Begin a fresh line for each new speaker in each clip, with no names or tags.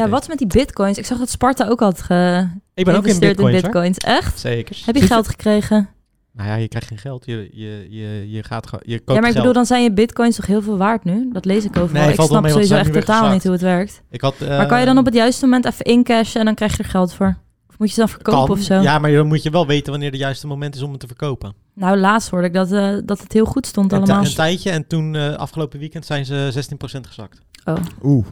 Ja, wat is met die bitcoins? Ik zag dat Sparta ook had ge
Ik ben ook in
geïnvesteerd
bitcoins,
in
hoor.
bitcoins. Echt?
Zeker.
Heb je
Zit
geld gekregen?
Nou ja, je krijgt geen geld. Je, je, je, je gaat gewoon... Je koopt
ja, maar ik
geld.
bedoel, dan zijn je bitcoins toch heel veel waard nu? Dat lees ik overal.
Nee,
ik
valt wel
snap
mee, want
sowieso
ze zijn
echt
nu weer
totaal
gezakt. Ehm.
niet hoe het werkt.
Ik had, eh,
Maar kan je dan op het juiste moment even incashen en dan krijg je er geld voor? Of moet je ze dan verkopen of zo?
Ja, maar dan moet je wel weten wanneer het juiste moment is om het te verkopen.
Nou, laatst hoorde ik dat, eh, dat het heel goed stond
Een, ti-
allemaal.
een tijdje en toen eh, afgelopen weekend zijn ze 16% gezakt.
Oh,
Oeh.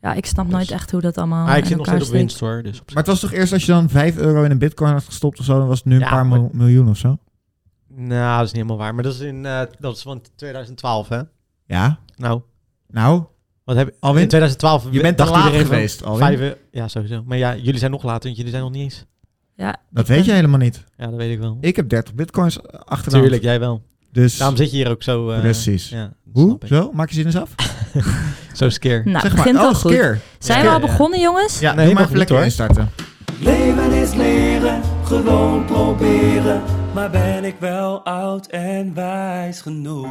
ja, ik snap nooit echt hoe dat allemaal
maar Ah, ik
in
zit nog
elkaar
steeds op
steekt.
winst hoor. Dus op zich-
Maar het was toch eerst als je dan 5 euro in een bitcoin had gestopt of zo, dan was het nu een
Ja,
paar
maar-
mil- miljoen of zo?
Nou, dat is niet helemaal waar. Maar dat is, in, eh, dat is van 2012 hè?
Ja.
Nou,
Nou,
wat heb je...
Alwin,
in 2012
je bent te
dacht
laat
iedereen van
geweest, Alwin.
Vijf, euro- ja, sowieso. Maar ja, jullie zijn nog later, want jullie zijn nog niet eens.
Ja,
Dat weet je helemaal niet.
Ja, dat weet ik wel.
Ik heb 30 bitcoins eh, achternaam.
Tuurlijk, jij wel.
Dus
Daarom zit je hier ook zo... eh,
precies.
Ja, dat
Hoe?
snap ik.
Zo? Maak je zin eens af?
Zo skeer.
Nou,
zeg
het
maar,
begint
oh,
al
eens
goed.
keer.
Zijn we
Ja,
al
ja.
begonnen, jongens?
Ja,
Nee,
doe
mag niet,
maar even lekker
hoor.
instarten.
Leven is leren, gewoon proberen. Maar ben ik wel oud en wijs genoeg?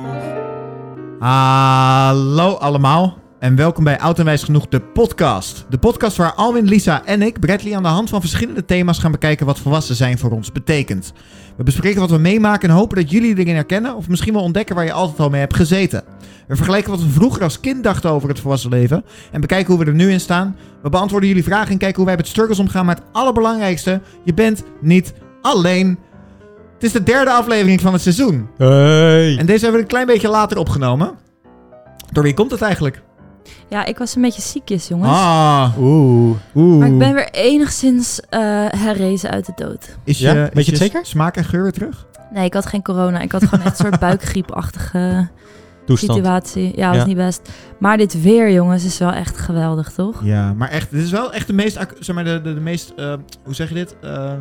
Hallo allemaal en welkom bij Oud en Wijs Genoeg, de podcast. De podcast waar Alwin, Lisa en ik, Bradley, aan de hand van verschillende thema's gaan bekijken wat volwassen zijn voor ons betekent. We bespreken wat we meemaken en hopen dat jullie erin herkennen of misschien wel ontdekken waar je altijd al mee hebt gezeten. We vergelijken wat we vroeger als kind dachten over het volwassen leven en bekijken hoe we er nu in staan. We beantwoorden jullie vragen en kijken hoe wij met struggles omgaan, maar het allerbelangrijkste, je bent niet alleen. Het is de derde aflevering van het seizoen.
Hey!
En deze hebben we een klein beetje later opgenomen. Door wie komt het eigenlijk?
Ja, ik was een beetje ziekjes, jongens.
Ah,
Oeh.
oeh.
Maar ik ben weer enigszins eh, herrezen uit de dood.
Is je,
Ja? Weet
is
je het zeker?
smaak en geur weer terug?
Nee, ik had geen corona. Ik had gewoon echt een soort buikgriepachtige
Toestand.
situatie. Ja, was
Ja.
niet best. Maar dit weer, jongens, is wel echt geweldig, toch?
Ja, maar echt, dit is wel echt de meest, ac- zeg maar, de, de, de meest, eh, hoe zeg je dit? Eh, eh,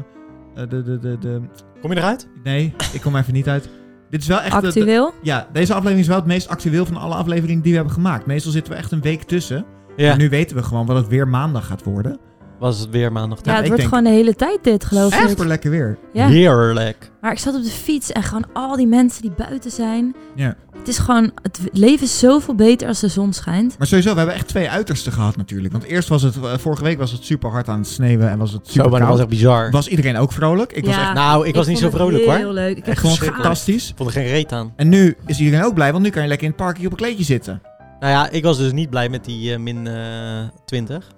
de, de, de, de,
Kom je eruit?
nee, ik kom er even niet uit. Dit is wel echt,
eh,
de- de-
Actueel?
ja, deze aflevering is wel het meest actueel van alle afleveringen die we hebben gemaakt. Meestal zitten we echt een week tussen.
Ja.
En nu weten we gewoon wat het weer maandag gaat worden.
Was het weer maandag.
Ja,
ik
het wordt
denk-
gewoon de hele tijd dit, geloof
Echt
ik.
super lekker weer.
Ja.
Heerlijk.
Maar ik zat op de fiets en gewoon al die mensen die buiten zijn.
Ja.
Het is gewoon, het leven is zoveel beter als de zon schijnt.
Maar sowieso, we hebben echt twee uitersten gehad natuurlijk. Want eerst was het, eh, vorige week was het super hard aan het sneeuwen en was het super
Zo, Oh, maar dat was
koud.
echt bizar.
Was iedereen ook vrolijk? Ik was
Ja.
echt,
nou, ik was niet zo
vond het
vrolijk hoor.
Heel leuk. Ik heb
echt gewoon
geschaamd.
fantastisch.
Ik vond er geen reet aan.
En nu is iedereen ook blij, want nu kan je lekker in het parkje op een kleedje zitten.
Nou ja, ik was dus niet blij met die eh, min eh 20.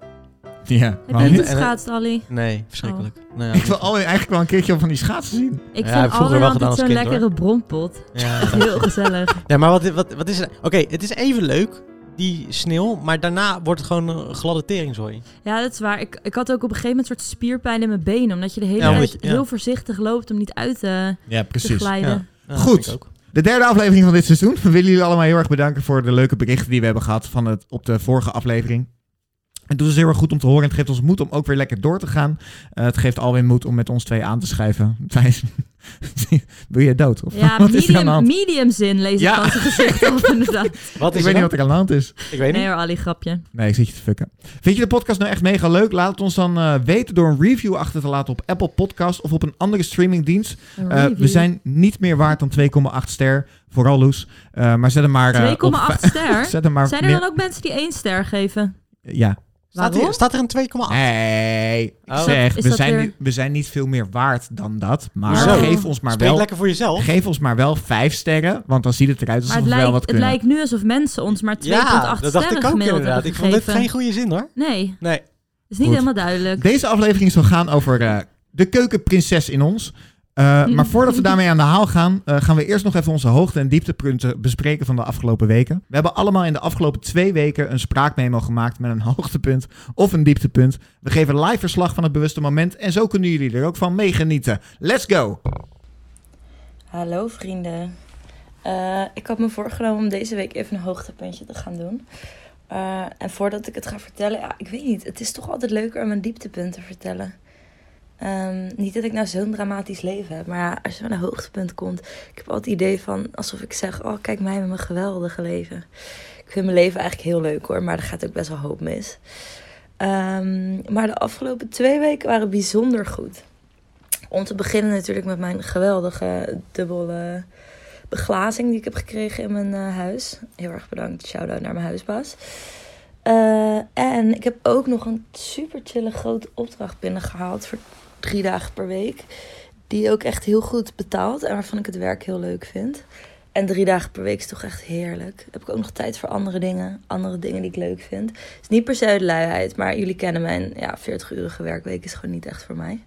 Ja.
Heb je niet
En- en-
geschaatst, Ali?
Nee,
Oh.
verschrikkelijk. Nou ja,
Ik wil alweer eigenlijk wel een keertje van die schaatsen
Ik
zien.
Ja, heb ik
vind
vroeger
Alwin
wel
altijd
gedaan als
zo'n
kind,
lekkere bronpot.
ja.
Echt heel gezellig.
Ja, maar wat, wat, wat is er? Oké, het is even leuk, die sneeuw, maar daarna wordt het gewoon een gladde teringzooi. Nou,
Ja, dat is waar. Ik, ik had ook op een gegeven moment een soort spierpijn in mijn benen. Omdat je de hele
Ja, omdat
tijd
je- ja.
heel voorzichtig loopt om niet uit eh, te,
Ja,
te glijden.
Ja. Ja,
Goed.
vind ik ook.
De derde aflevering van dit seizoen. We willen jullie allemaal heel erg bedanken voor de leuke berichten die we hebben gehad van het, op de vorige aflevering. Het doet ons heel erg goed om te horen en het geeft ons moed om ook weer lekker door te gaan. Eh, het geeft alweer moed om met ons twee aan te schuiven. Thijs, wil je dood? Of
Ja,
wat is er aan de
medium,
hand?
medium zin lees
Ja.
ik van zijn gezicht op inderdaad.
Wat
Ik
is er
weet niet
dan?
wat er aan de hand is.
Ik weet
Nee
niet.
hoor, Ali, grapje.
Nee, ik zit je te fucken. Vind je de podcast nou echt mega leuk? Laat het ons dan eh, weten door een review achter te laten op Apple Podcast of op een andere streamingdienst.
Een
Eh,
review.
we zijn niet meer waard dan 2,8 ster. Vooral Loes. Eh, maar zet hem maar. eh, op
2,8 ster.
vijf- Zet hem maar.
Zijn er dan ook mensen die één ster geven?
ook? Ja.
Staat,
Waarom?
hier, staat er een
Eh,
2,8?
Hey, ik
Oh.
zeg,
Is
we
dat
zijn,
weer-
niet, we zijn niet veel meer waard dan dat. Maar
Zo.
geef, ons maar
Spreek
wel,
lekker voor jezelf.
geef ons maar wel 5 sterren. Want dan ziet het eruit alsof
Maar het
we wel
lijkt,
wat
het
kunnen.
lijkt nu alsof mensen ons maar 2,8
Ja, dat dacht
sterren
ik ook
gemiddeld
inderdaad.
hebben
Ik vond dit
gegeven.
geen goede zin hoor.
Nee, dat
Nee.
is niet
Goed.
helemaal duidelijk.
Deze aflevering zal gaan over eh, de keukenprinses in ons. Eh, maar voordat we daarmee aan de haal gaan, eh, gaan we eerst nog even onze hoogte- en dieptepunten bespreken van de afgelopen weken. We hebben allemaal in de afgelopen twee weken een spraakmemo gemaakt met een hoogtepunt of een dieptepunt. We geven live verslag van het bewuste moment en zo kunnen jullie er ook van meegenieten. Let's go!
Hallo vrienden. Eh, ik had me voorgenomen om deze week even een hoogtepuntje te gaan doen. Eh, en voordat ik het ga vertellen, ja, ik weet niet. Het is toch altijd leuker om een dieptepunt te vertellen. Ehm, niet dat ik nou zo'n dramatisch leven heb, maar ja, als je aan een hoogtepunt komt, ik heb altijd het idee van alsof ik zeg: Oh, kijk mij met mijn geweldige leven. Ik vind mijn leven eigenlijk heel leuk hoor, maar er gaat ook best wel hoop mis. Ehm, maar de afgelopen twee weken waren bijzonder goed. Om te beginnen natuurlijk met mijn geweldige dubbele beglazing die ik heb gekregen in mijn eh, huis. Heel erg bedankt, shout-out naar mijn huisbaas.
Eh, en ik heb ook nog een super chille grote opdracht binnengehaald voor drie dagen per week. Die ook echt heel goed betaalt en waarvan ik het werk heel leuk vind. En drie dagen per week is toch echt heerlijk. Heb ik ook nog tijd voor andere dingen. Andere dingen die ik leuk vind. Het is niet per se uit luiheid, maar jullie kennen mijn ja, 40-urige werkweek is gewoon niet echt voor mij.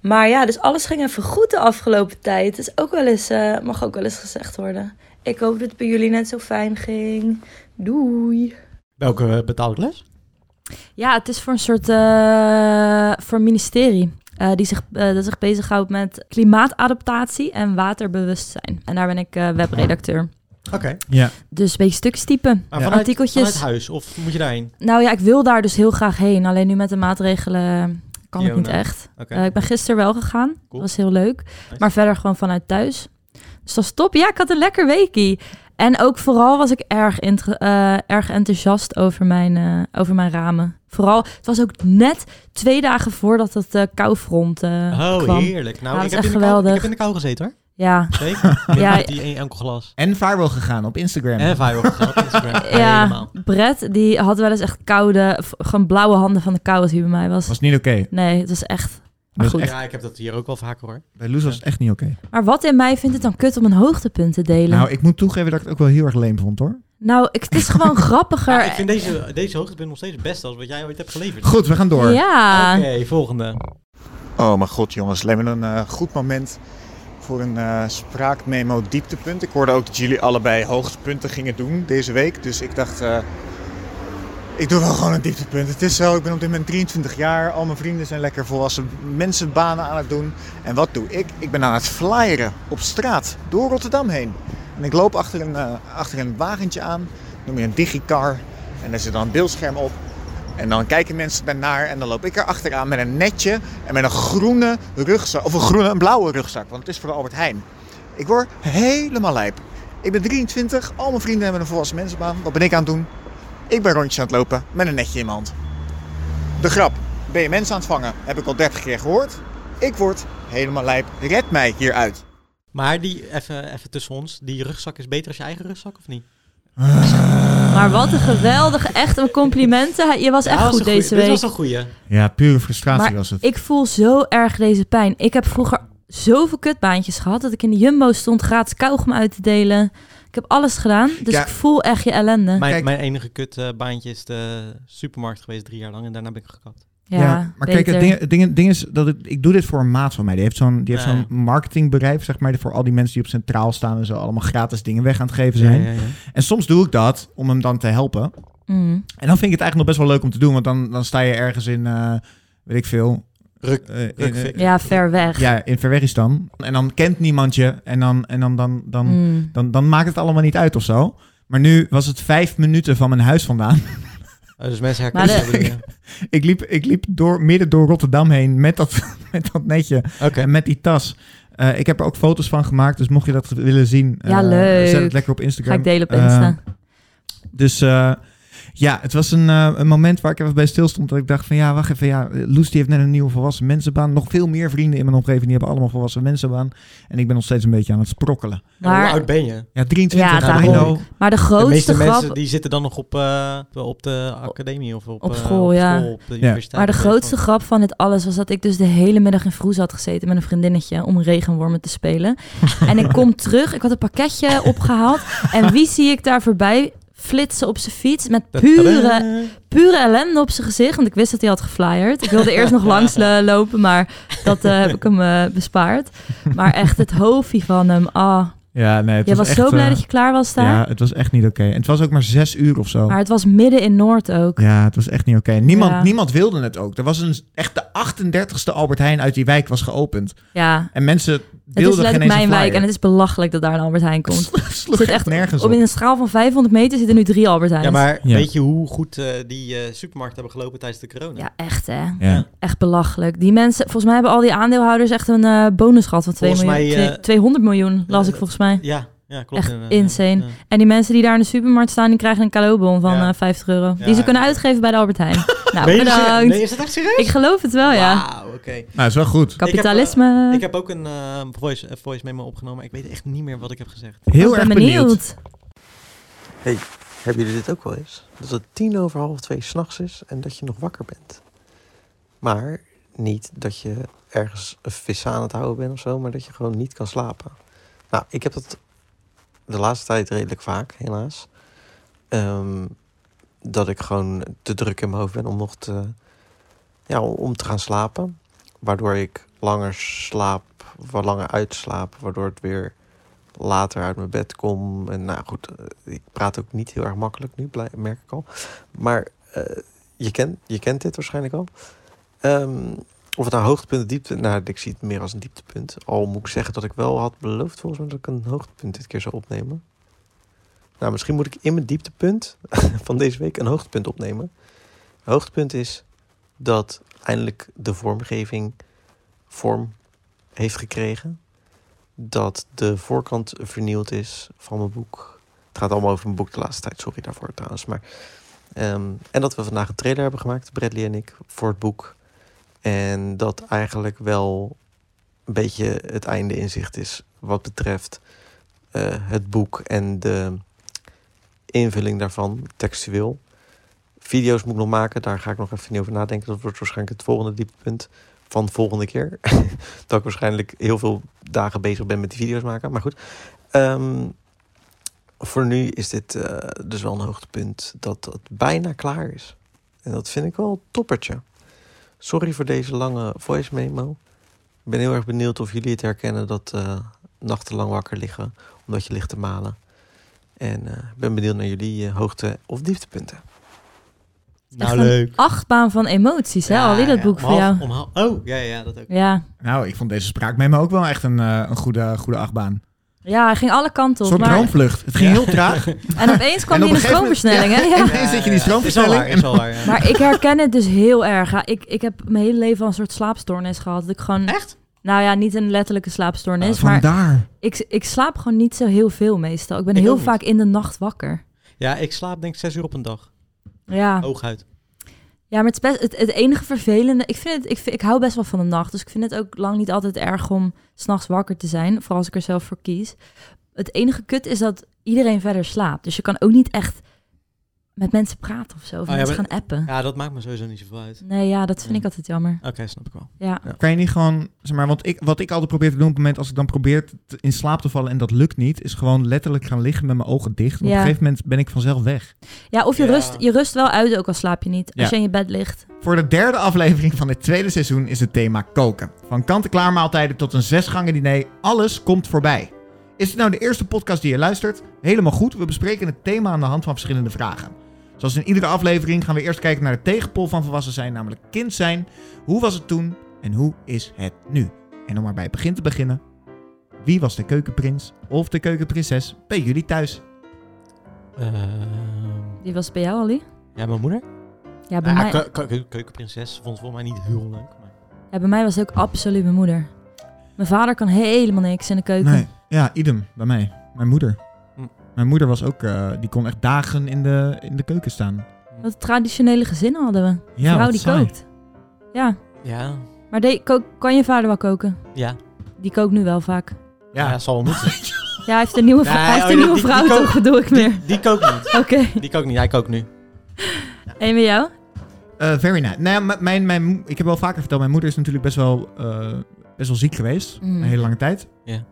Maar ja, dus alles ging even goed de afgelopen tijd. Het is ook wel eens, eh, mag ook wel eens gezegd worden. Ik hoop dat het bij jullie net zo fijn ging. Doei!
Welke eh, betaalde les?
Ja, het is voor een soort eh, voor een ministerie. eh, die zich, eh, dat zich bezighoudt met klimaatadaptatie en waterbewustzijn. En daar ben ik eh, webredacteur.
Oké.
Ja.
Dus een beetje stukjes typen.
Maar
Ja.
vanuit,
Artikeltjes.
vanuit huis, of moet je daarheen?
Nou ja, ik wil daar dus heel graag heen. Alleen nu met de maatregelen kan het niet
Jona.
echt.
Oké.
Eh, ik ben gisteren wel gegaan. Dat was heel leuk. Maar verder gewoon vanuit thuis. Dus dat is top. Ja, ik had een lekker weekie. En ook vooral was ik erg, inter- eh, erg enthousiast over mijn, eh, over mijn ramen. Vooral, het was ook net twee dagen voordat het eh koufront eh,
oh,
kwam.
heerlijk. Nou,
Ja, dat
ik,
is
heb
echt
in de kou, ik
geweldig.
heb in de kou gezeten hoor.
Ja,
Zeker.
Ja,
ja, die één enkel glas.
En vaarwel gegaan op Instagram.
En viral gegaan op Instagram.
ja.
Helemaal.
Brett die had wel eens echt koude, v- gewoon blauwe handen van de kou als hij bij mij was.
was niet oké.
Nee, het was echt... Maar
Was
goed.
echt-
Ja, ik heb dat hier ook wel vaker hoor.
Bij Loes was het echt niet oké.
Maar wat in mij vindt het dan kut om een hoogtepunt te delen? Nou,
Nou, ik moet toegeven dat ik het ook wel heel erg leem vond hoor.
ik, het is gewoon grappiger.
Ja, Ah,
Nou,
ik vind deze, deze hoogtepunt nog steeds het beste als wat jij ooit hebt geleverd.
Goed, we gaan door.
Ja.
Oké, volgende.
Oh mijn god jongens, lijkt me een eh, goed moment voor een eh, spraakmemo dieptepunt. Ik hoorde ook dat jullie allebei hoogtepunten gingen doen deze week. Dus ik dacht, eh, ik doe wel gewoon een dieptepunt. Het is zo, ik ben op dit moment 23 jaar. Al mijn vrienden zijn lekker volwassen mensenbanen aan het doen. En wat doe ik? Ik ben aan het flyeren op straat door Rotterdam heen. En ik loop achter een, eh, achter een wagentje aan, noem je een digicar. En daar zit dan een beeldscherm op. En dan kijken mensen ernaar en dan loop ik er achteraan met een netje en met een groene rugzak. Of een groene, een blauwe rugzak, want het is voor de Albert Heijn. Ik word helemaal lijp. Ik ben 23, al mijn vrienden hebben een volwassen mensenbaan. Wat ben ik aan het doen? Ik ben rondjes aan het lopen met een netje in mijn hand. De grap, ben je mensen aan het vangen? Heb ik al 30 keer gehoord. Ik word helemaal lijp. Red mij hieruit.
Maar die, even, even tussen ons, die rugzak is beter als je eigen rugzak of niet?
Maar wat een geweldige, echt een complimenten. Je was
Ja,
echt
was
goed
een goeie.
deze
Dit
week.
was een goeie.
Ja, pure frustratie
Maar
was het.
ik voel zo erg deze pijn. Ik heb vroeger zoveel kutbaantjes gehad dat ik in de Jumbo stond gratis kauwgom uit te delen. Ik heb alles gedaan, dus
Ja.
ik voel echt je ellende.
Mijn,
Kijk.
mijn enige kutbaantje is de supermarkt geweest drie jaar lang en daarna ben ik gekapt.
ja,
maar
beter.
kijk, het ding, het ding, het ding is dat ik, ik doe dit voor een maat van mij. Die heeft zo'n die heeft
Ja, ja.
zo'n marketingbedrijf, zeg maar, voor al die mensen die op centraal staan en zo allemaal gratis dingen weg aan het geven zijn. En soms doe ik dat om hem dan te helpen.
Mm.
En dan vind ik het eigenlijk nog best wel leuk om te doen, want dan, dan sta je ergens in, eh, weet ik veel.
Ruk-
eh, in-
Rukvik.
Ja, ver weg.
ja, in Verwegistan. En dan kent niemand je en dan, en dan, dan, dan,
Mm.
dan, dan maakt het allemaal niet uit of zo. Maar nu was het vijf minuten van mijn huis vandaan.
Oh, dus mensen
Maar
herkennen
de-
de... dingen.
Ik liep, ik liep door, midden door Rotterdam heen met dat, met dat netje
Oké.
en met die tas. Eh, ik heb er ook foto's van gemaakt, dus mocht je dat willen zien,
Ja,
eh,
leuk.
zet het lekker op
Ga
Instagram.
ik delen op Insta.
Eh, dus eh, ja, het was een, eh, een moment waar ik even bij stilstond. Dat ik dacht van ja, wacht even. Ja, Loes die heeft net een nieuwe volwassen mensenbaan. Nog veel meer vrienden in mijn omgeving die hebben allemaal volwassen mensenbaan. En ik ben nog steeds een beetje aan het sprokkelen.
Maar... Hoe
maar,
oud ben je?
Ja, 23.
Ja,
Nou, I
daarom.
know.
maar de
Nou, De
grootste
meeste
grap...
mensen die zitten dan nog op, eh, op de academie of op,
Op
eh,
school, ja.
op de universiteit.
Maar de grootste
Van-
grap van dit alles was dat ik dus de hele middag in Vroes had gezeten met een vriendinnetje om regenwormen te spelen. en ik kom terug, ik had een pakketje opgehaald. En wie zie ik daar voorbij flitsen op zijn fiets met pure,
Tadaa.
pure ellende op zijn gezicht? Want ik wist dat hij had geflyerd. Ik wilde eerst nog langs eh, lopen, maar dat eh, heb ik hem eh, bespaard. Maar echt het hoofdje van hem. Ah,
Ja, nee. Het
jij was,
echt,
zo blij
eh,
dat je klaar was daar.
Ja, het was echt niet oké. En het was ook maar zes uur of zo.
Maar het was midden in Noord ook.
Ja, het was echt niet oké. Niemand,
Ja.
niemand wilde het ook. Er was een, echt de 38ste Albert Heijn uit die wijk was geopend.
Ja,
En mensen
het is
wilden geen eens
letterlijk mijn wijk en
En
het is belachelijk dat daar een Albert Heijn komt.
het sloeg
zit
echt,
echt
nergens
Op
op.
in een schaal van 500 meter zitten nu drie Albert Heijns.
Ja, maar
Ja.
weet je hoe goed eh, die eh, supermarkten hebben gelopen tijdens de corona?
Ja, echt hè.
Ja.
Echt belachelijk. Die mensen, volgens mij hebben al die aandeelhouders echt een eh, bonus gehad van 2
Volgens
miljoen.
mij, eh,
twee- 200 miljoen, las
eh,
ik volgens mij.
Ja, ja, klopt.
Echt
En, eh,
insane.
ja.
En die mensen die daar in de supermarkt staan, die krijgen een cadeaubon van
Ja.
eh, 50 euro.
Ja,
die ze
ja,
kunnen
ja.
uitgeven bij de Albert Heijn. nou,
Meen je dat-
bedankt.
Nee, is dat echt serieus?
Ik geloof het wel, ja.
Wauw, oké.
Nou, is wel goed.
heb, eh,
Kapitalisme. Ik,
Ik heb ook een eh, voice, eh, voice memo opgenomen. Ik weet echt niet meer wat ik heb gezegd.
Heel
ben
erg
benieuwd.
benieuwd.
Hey,
Hebben jullie dit ook wel eens? Dat het tien over half twee s'nachts is en dat je nog wakker bent. Maar niet dat je ergens een vis aan het houden bent of zo, maar dat je gewoon niet kan slapen. Nou, ik heb dat de laatste tijd redelijk vaak, helaas. Ehm, dat ik gewoon te druk in mijn hoofd ben om nog te, ja, om te gaan slapen. Waardoor ik langer slaap, wat langer uitslaap, waardoor het weer later uit mijn bed kom. En nou goed, eh, ik praat ook niet heel erg makkelijk nu, blij- merk ik al. Maar eh, je, kent, je kent dit waarschijnlijk al. Ehm, of het nou hoogtepunt, diepte, nou ik zie het meer als een dieptepunt. Al moet ik zeggen dat ik wel had beloofd volgens mij dat ik een hoogtepunt dit keer zou opnemen. Nou, misschien moet ik in mijn dieptepunt van deze week een hoogtepunt opnemen. Hoogtepunt is dat eindelijk de vormgeving vorm heeft gekregen. Dat de voorkant vernield is van mijn boek. Het gaat allemaal over mijn boek de laatste tijd, sorry daarvoor trouwens. Maar, ehm, en dat we vandaag een trailer hebben gemaakt, Bradley en ik, voor het boek. En dat eigenlijk wel een beetje het einde in zicht is wat betreft eh, het boek en de invulling daarvan, textueel. Video's moet ik nog maken, daar ga ik nog even niet over nadenken. Dat wordt waarschijnlijk het volgende dieptepunt van volgende keer. dat ik waarschijnlijk heel veel dagen bezig ben met die video's maken. Maar goed, Ehm, voor nu is dit eh, dus wel een hoogtepunt dat het bijna klaar is. En dat vind ik wel een toppertje. Sorry voor deze lange voice memo. Ik ben heel erg benieuwd of jullie het herkennen dat eh, nachtenlang wakker liggen omdat je ligt te malen. En eh, ik ben benieuwd naar jullie eh, hoogte- of dieptepunten.
Nou,
Echt een
leuk.
achtbaan van emoties, hè? Al die dat boek
om
voor
half-
jou.
om half- oh, ja, ja, dat ook.
Ja.
Nou, ik vond deze spraakmemo ook wel echt een, eh, een goede, goede achtbaan.
ja, hij ging alle kanten
Een
op.
soort
maar...
droomvlucht. Het ging heel traag.
En opeens kwam
En
hij in
op een
de
gegeven moment-
stroomversnelling, hè? Ja.
Ineens zit je in die stroomversnelling.
Is al waar, is al waar.
Maar ik herken het dus heel erg. Ja, ik, ik heb mijn hele leven al een soort slaapstoornis gehad. Dat ik gewoon...
Echt?
Nou ja, niet een letterlijke
Nou,
slaapstoornis, maar
Vandaar.
ik, ik slaap gewoon niet zo heel veel meestal. Ik ben
Ik ook
heel
niet.
vaak in de nacht wakker.
Ja, ik slaap denk ik zes uur op een dag.
Ja,
Ooguit.
ja maar het, is best, het, het enige vervelende... Ik, vind het, ik, vind- ik hou best wel van de nacht, dus ik vind het ook lang niet altijd erg om s'nachts wakker te zijn. Vooral als ik er zelf voor kies. Het enige kut is dat iedereen verder slaapt. Dus je kan ook niet echt met mensen praten of zo. Of
Oh ja,
mensen
maar-
gaan appen.
Ja, dat maakt me sowieso niet zoveel uit.
Nee, ja, dat vind ik altijd jammer.
Oké, snap ik wel.
Ja.
Kan je niet gewoon, zeg maar, want ik, wat ik altijd probeer te doen op het moment als ik dan probeer te- in slaap te vallen en dat lukt niet, is gewoon letterlijk gaan liggen met mijn ogen dicht.
Ja.
Want Op een gegeven moment ben ik vanzelf weg.
Ja, of je,
Ja.
Rust, je rust wel uit, ook al slaap je niet.
Ja.
Als je in je bed ligt.
Voor de derde aflevering van dit tweede seizoen is het thema koken. Van kant-en-klaar maaltijden tot een zesgangen diner, alles komt voorbij. Is het nou de eerste podcast die je luistert? Helemaal goed, we bespreken het thema aan de hand van verschillende vragen. Zoals in iedere aflevering gaan we eerst kijken naar de tegenpol van volwassen zijn, namelijk kind zijn. Hoe was het toen en hoe is het nu? En om maar bij het begin te beginnen, wie was de keukenprins of de keukenprinses bij jullie thuis?
Ehm,
Die was bij jou, Ali?
ja, mijn moeder?
Ja, bij,
Ja,
mij,
keu- keu- keu- keukenprinses vond het volgens mij niet heel leuk. Maar...
ja, bij mij was het ook absoluut mijn moeder. Mijn vader kan helemaal niks in de keuken.
Nee, ja, idem bij mij. Mijn moeder.
Hm.
Mijn moeder was ook, eh, die kon echt dagen in de, in de keuken staan.
Wat een traditionele gezinnen hadden we.
Ja,
Vrouw
wat
die
saai.
kookt. Ja,
Ja,
maar de, ko- kan je vader wel koken?
ja,
Die kookt nu wel vaak.
ja,
Ja,
zal wel moeten.
Ja, hij heeft een nieuwe,
Nee,
vrou- hij heeft
oh,
een
die-
nieuwe
die-
vrouw,
die kookt-
toch bedoel ik meer.
Die kookt niet.
Oké,
Die kookt niet, hij kookt nu.
en bij jou?
Eh, very nice. Nou ja, m- mijn, mijn, mo- ik heb wel vaker verteld, mijn moeder is natuurlijk best wel, eh, best wel ziek geweest.
Mm.
Een hele lange tijd.
Ja.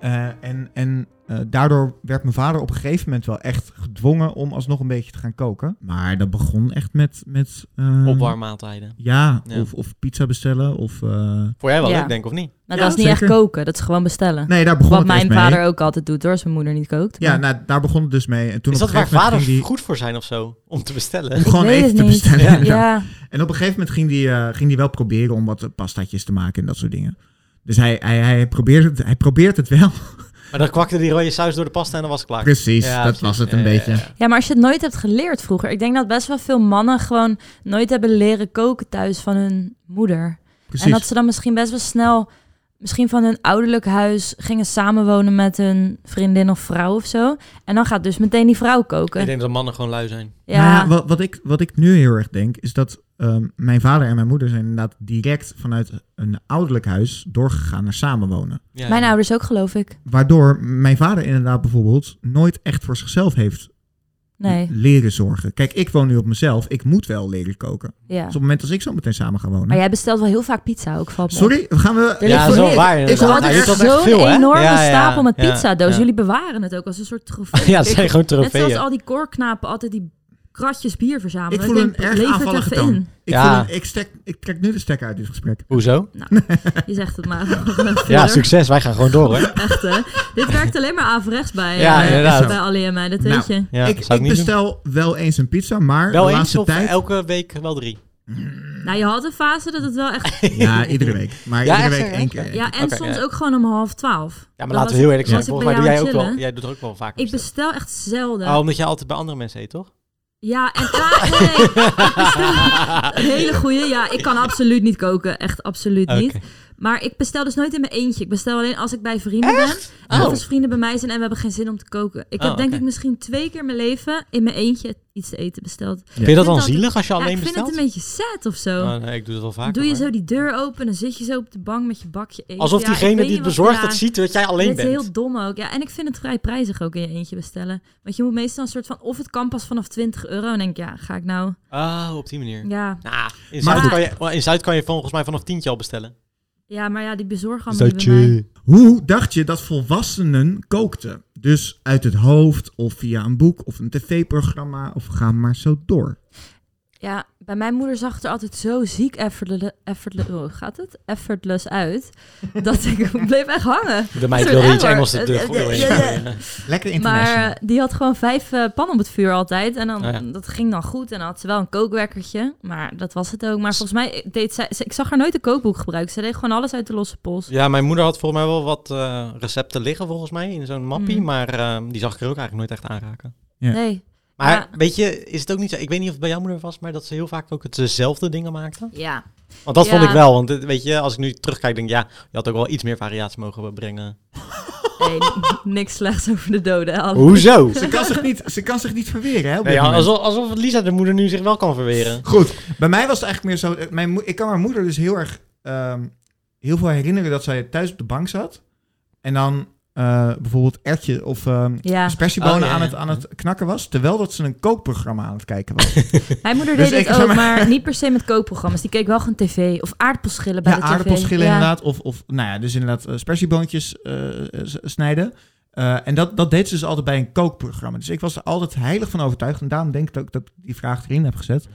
Eh, en en eh, daardoor werd mijn vader op een gegeven moment wel echt gedwongen om alsnog een beetje te gaan koken. Maar dat begon echt met... met eh,
Opwarmmaaltijden.
Ja,
Ja.
Of, of pizza bestellen of... eh,
Vond jij wel
Ja.
leuk, denk ik, of niet?
Nou,
Ja,
dat is niet echt
zeker.
koken, dat is gewoon bestellen.
Nee, daar begon
Wat
het
mijn
dus mee.
vader ook altijd doet hoor, als mijn moeder niet kookt.
Ja,
Maar-
nou, daar begon het dus mee. En toen
Is
op een
dat waar
gegeven moment
vaders
ging die...
goed voor zijn of zo? Om te bestellen?
Om gewoon
weet
even
het
te
niet.
bestellen.
Ja.
ja,
inderdaad. En op een gegeven moment ging die, eh, ging die wel proberen om wat eh, pastaatjes te maken en dat soort dingen. Dus hij, hij, hij, probeert, het, hij probeert het wel.
Maar dan kwakte die rode saus door de pasta en dan was het klaar.
Precies,
Ja,
dat
precies.
was het een
Ja, ja,
beetje.
ja.
Ja, maar als je het nooit hebt geleerd vroeger. Ik denk dat best wel veel mannen gewoon nooit hebben leren koken thuis van hun moeder.
Precies.
En dat ze dan misschien best wel snel, misschien van hun ouderlijk huis, gingen samenwonen met hun vriendin of vrouw of zo. En dan gaat dus meteen die vrouw
Ik
koken.
denk dat mannen gewoon lui zijn.
Nou
Ja,
ja, wat, wat, ik, wat ik nu heel erg denk, is dat ehm, mijn vader en mijn moeder zijn inderdaad direct vanuit een ouderlijk huis doorgegaan naar samenwonen.
Ja,
mijn
ja.
ouders ook geloof ik.
Waardoor mijn vader inderdaad bijvoorbeeld nooit echt voor zichzelf heeft
Nee,
leren zorgen. Kijk, ik woon nu op mezelf. Ik moet wel leren koken.
ja.
Dus op het moment als ik zo meteen samen ga wonen.
Maar jij bestelt wel heel vaak pizza ook, valt me op.
Sorry, gaan we...
Er ligt
Ah, Ja, dat is wel
voor-
waar,
Ik
inderdaad.
had
Nou, je hebt
echt
altijd
zo'n
veel, hè?
enorme
Ja, ja,
stapel met
ja,
pizzadoos.
ja.
Jullie bewaren het ook als een soort trofee.
Ja, het zijn gewoon
Net zoals
trofeeën.
al die koorknapen altijd die kratjes bier verzamelen.
Ik voel een
denk,
erg
lever het
aanvallige
even
toon.
in.
Ik,
Ja.
voel een- ik, stek, ik trek nu de stek uit dit gesprek.
Hoezo?
Je zegt het maar.
Ja, succes. Wij gaan gewoon door, hè?
Echt, hè? Dit werkt alleen maar averechts bij,
Ja,
eh,
inderdaad.
bij Ali en mij, dat
Nou,
weet je.
Ja,
ik
dat zou
ik
ik niet doen.
bestel wel eens een pizza, maar
Wel
de
eens
laatste
of
tijd...
elke week wel drie?
Nou, je had een fase dat het wel echt...
Ja, iedere week. Maar
Ja,
iedere
echt,
week
hè?
één keer.
Ja, en
Oké,
soms
ja.
ook gewoon om half twaalf.
Ja, maar
Dan
laten we
was-
heel eerlijk zijn.
was ik
Volgens mij
bij
doe jij
jou aan
ook
het
wel.
chillen.
Jij doet er ook wel vaak.
Ik bestel echt zelden.
Oh, omdat je altijd bij andere mensen eet, toch?
Ja, en ah, nee. Ik bestel- Hele goeie. Ja, ik kan absoluut niet koken. Echt absoluut niet.
Oké.
Maar ik bestel dus nooit in mijn eentje. Ik bestel alleen als ik bij vrienden ben. Of als vrienden bij mij zijn en we hebben geen zin om te koken. Ik
Oh,
heb denk
oké.
ik misschien twee keer in mijn leven in mijn eentje iets te eten besteld.
Vind je dat dan
altijd-
zielig als je
Ja,
alleen
ik vind
bestelt?
het een beetje sad of zo.
Oh, nee, ik doe het wel vaker.
Doe je
hoor.
zo die deur open, dan zit je zo op de bank met je bakje eten.
Alsof
Ja, ik
diegene
weet
die het
niet wat-
bezorgt
ja,
het ziet dat jij alleen
dit is
bent.
heel dom ook. Ja, en ik vind het vrij prijzig ook in je eentje bestellen. Want je moet meestal een soort van... Of het kan pas vanaf 20 euro. En dan denk ik, ja, ga ik nou...
Ah, op die manier.
Ja,
Nou, in,
Maar-
Zuid kan je, in Zuid kan je volgens mij vanaf tientje al bestellen.
ja maar ja, die bezorgen allemaal niet bij mij.
Hoe dacht je dat volwassenen kookten? Dus uit het hoofd of via een boek of een tv-programma of ga maar zo door.
Ja, bij mijn moeder zag het er altijd zo ziek effortless, effortless, oh, gaat het? effortless uit. dat ik bleef echt hangen.
Bij mij
Een
wilde
soort
iets
error.
Engels de deur
Eh,
goed
eh,
in.
ja, ja.
Lekker
Maar
international. Oh
eh, die had gewoon vijf eh, pannen op het vuur altijd. En dan,
Ah, ja.
dat ging dan goed. En dan had ze wel een kookwekkertje. Maar dat was het ook. Maar volgens mij deed zij... ze- Ik zag haar nooit een kookboek gebruiken. Ze deed gewoon alles uit de losse pols.
Ja, mijn moeder had volgens mij wel wat eh, recepten liggen volgens mij in zo'n mappie.
Mm.
Maar ehm, die zag ik er ook eigenlijk nooit echt aanraken.
Ja.
Nee.
Maar
Ja.
weet je, is het ook niet zo... Ik weet niet of het bij jouw moeder was, maar dat ze heel vaak ook hetzelfde dingen maakte.
Ja.
Want dat
Ja.
vond ik wel. Want eh, weet je, als ik nu terugkijk, denk ik, ja, je had ook wel iets meer variatie mogen brengen.
Hey, niks slechts over de doden. Al.
Hoezo?
Ze kan zich niet, ze kan zich niet verweren, hè? op
Nee,
dit
ja,
moment.
alsof, alsof Lisa de moeder nu zich wel kan verweren.
Goed, bij mij was het eigenlijk meer zo... eh, Mijn, mo- ik kan mijn moeder dus heel erg... ehm, heel veel herinneren dat zij thuis op de bank zat. En dan eh, bijvoorbeeld ertje of ehm
Ja,
aspergebonen
Oh, ja, ja.
Aan, het, aan het knakken was. Terwijl dat ze een kookprogramma aan het kijken was.
mijn moeder
Dus
deed
ik-
dit
zeg
ook,
maar-
maar niet per se met kookprogramma's. Die keek wel gewoon tv of aardappelschillen bij
ja,
de tv.
aardappelschillen
Ja.
inderdaad. Of, of, nou ja, dus inderdaad eh, spersieboontjes eh, s- snijden. Eh, en dat, dat deed ze dus altijd bij een kookprogramma. Dus ik was er altijd heilig van overtuigd. En daarom denk ik ook dat ik die vraag erin heb gezet.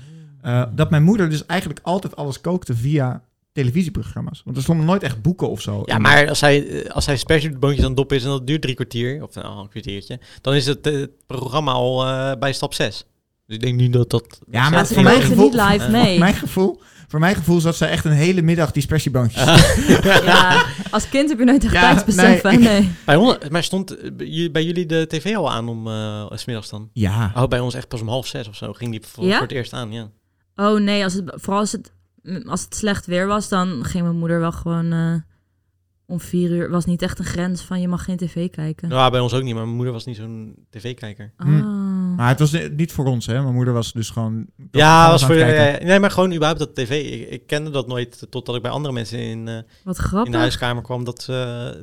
eh, dat mijn moeder dus eigenlijk altijd alles kookte via televisieprogramma's. Want er stonden nooit echt boeken of zo.
Ja,
in.
maar als hij, eh, als hij special boontjes aan het doppen is en dat duurt drie kwartier, of nou, een kwartiertje, dan is het, eh, het programma al eh, bij stap 6. Dus ik denk niet dat dat...
Ja, maar
Ja,
het
ze
voor mijn
lopen
gevoel-
niet live
Voor
mee.
mijn gevoel, voor mijn gevoel zat ze echt een hele middag die spersieboontjes.
Ja, als kind heb je nooit echt
Ja,
tijdsbesef.
nee,
Nee,
ik-
nee.
Bij ons, maar stond eh, bij jullie- bij jullie de tv al aan om eh, 's smiddags dan?
Ja.
Oh, bij ons echt pas om half zes of zo ging die voor,
Ja?
voor het eerst aan, ja.
Oh nee, als het, vooral als het, mm, als het slecht weer was, dan ging mijn moeder wel gewoon eh, om vier uur. was niet echt een grens van je mag geen tv kijken.
Nou, bij ons ook niet, maar mijn moeder was niet zo'n tv-kijker.
Hm.
Mm.
Oh.
Maar het was eh, niet voor ons, hè. Mijn moeder was dus gewoon...
Ja,
alles
was
aan
voor,
het kijken.
eh, nee, maar gewoon überhaupt dat tv. Ik, ik kende dat nooit totdat ik bij andere mensen in, eh,
Wat
in de
grappig.
huiskamer kwam dat eh,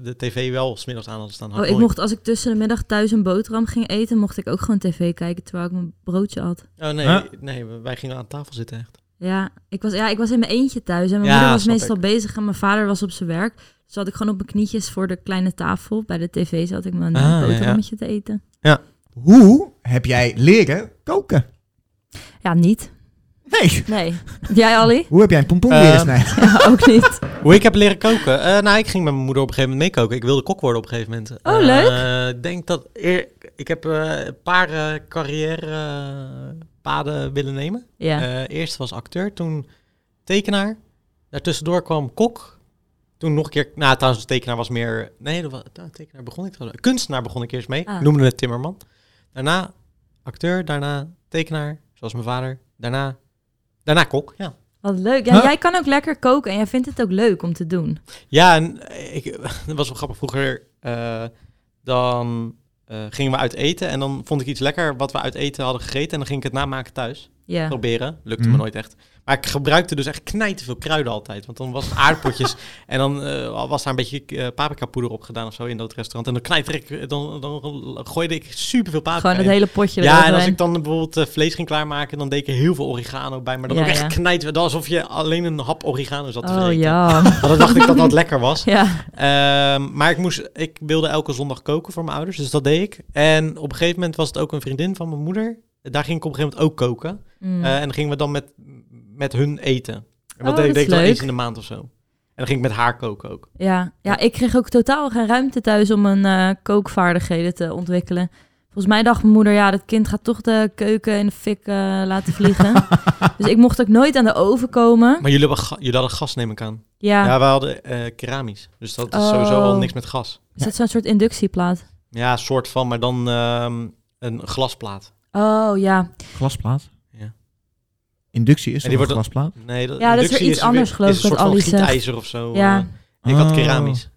de tv wel smiddags aan had staan. Had
Oh, ik
nooit.
mocht, als ik tussen de middag thuis een boterham ging eten, mocht ik ook gewoon tv kijken terwijl ik mijn broodje had.
Oh nee,
Huh?
nee, wij gingen aan tafel zitten echt.
Ja, ik was, ja, ik was in mijn eentje thuis en mijn
Ja,
moeder was
snap
meestal
ik.
bezig en mijn vader was op zijn werk. Dus zat ik gewoon op mijn knietjes voor de kleine tafel. Bij de tv zat ik mijn
Ah, ja, ja.
boterhammetje te eten.
Hoe heb jij leren koken?
Ja, niet.
Nee.
Nee. Jij, Ali?
Hoe heb jij een pompoen
Eh,
leren snijden?
Ja, ook niet.
Hoe ik heb leren koken? Eh, nou, ik ging met mijn moeder op een gegeven moment meekoken. Ik wilde kok worden op een gegeven moment.
Oh,
Eh,
leuk.
Ik denk dat... eer- ik heb eh, een paar eh, carrièrepaden willen nemen.
Ja.
Eh, eerst was acteur, toen tekenaar. Daartussendoor kwam kok. Toen nog een keer... Nou, trouwens, tekenaar was meer... Nee, dat was, nou, tekenaar begon ik... trouwens- Kunstenaar begon ik eerst mee.
Ah.
Noemde het timmerman. Daarna acteur, daarna tekenaar, zoals mijn vader. Daarna... Daarna kok, ja.
Wat leuk. Ja,
Huh?
Jij kan ook lekker koken en jij vindt het ook leuk om te doen.
Ja, en ik, dat was wel grappig. Vroeger eh, dan eh, gingen we uit eten en dan vond ik iets lekker wat we uit eten hadden gegeten en dan ging ik het namaken thuis.
Ja.
Proberen, lukte
Mm.
me nooit echt. Maar ik gebruikte dus echt knijten veel kruiden altijd. Want dan was het aardpotjes en dan eh, was daar een beetje eh, paprikapoeder op gedaan of zo in dat restaurant. En dan knijter ik, eh, dan, dan gooide ik superveel paprika
Gewoon het
in.
hele potje
Ja, en als
eroverheen.
ik dan bijvoorbeeld eh, vlees ging klaarmaken, dan deed ik er heel veel oregano bij. Maar dan
Ja,
ook echt
ja.
knijten. Dat alsof je alleen een hap oregano zat te
Oh
vreten.
ja.
Want dan dacht ik dat dat lekker was.
ja.
Ehm, maar ik, moest, ik wilde elke zondag koken voor mijn ouders, dus dat deed ik. En op een gegeven moment was het ook een vriendin van mijn moeder. Daar ging ik op een gegeven moment ook koken.
Mm.
Eh, en dan gingen we dan met, met hun eten. En dat
Oh,
deed,
dat
deed ik
is
dan
leuk.
eens in de maand of zo. En dan ging ik met haar koken ook.
Ja, ja, ik kreeg ook totaal geen ruimte thuis om mijn eh, kookvaardigheden te ontwikkelen. Volgens mij dacht mijn moeder, ja, dat kind gaat toch de keuken in de fik eh, laten vliegen. dus ik mocht ook nooit aan de oven komen.
Maar jullie, hebben ga- jullie hadden gas, neem ik aan.
Ja,
Ja, wij hadden eh keramisch. Dus dat is
Oh.
sowieso al niks met gas.
is dat zo'n soort inductieplaat?
Ja, soort van, maar dan ehm, een glasplaat.
Oh ja,
Glasplaat?
Ja.
Inductie is
En
toch
die
een
wordt dan-
glasplaat?
Nee, dat,
Ja, dat is
inductie
weer iets anders, geloof
is
ik,
Een soort
wat
van
Ali zegt.
gietijzer of zo.
Ja.
eh. ik had
Oh.
keramisch.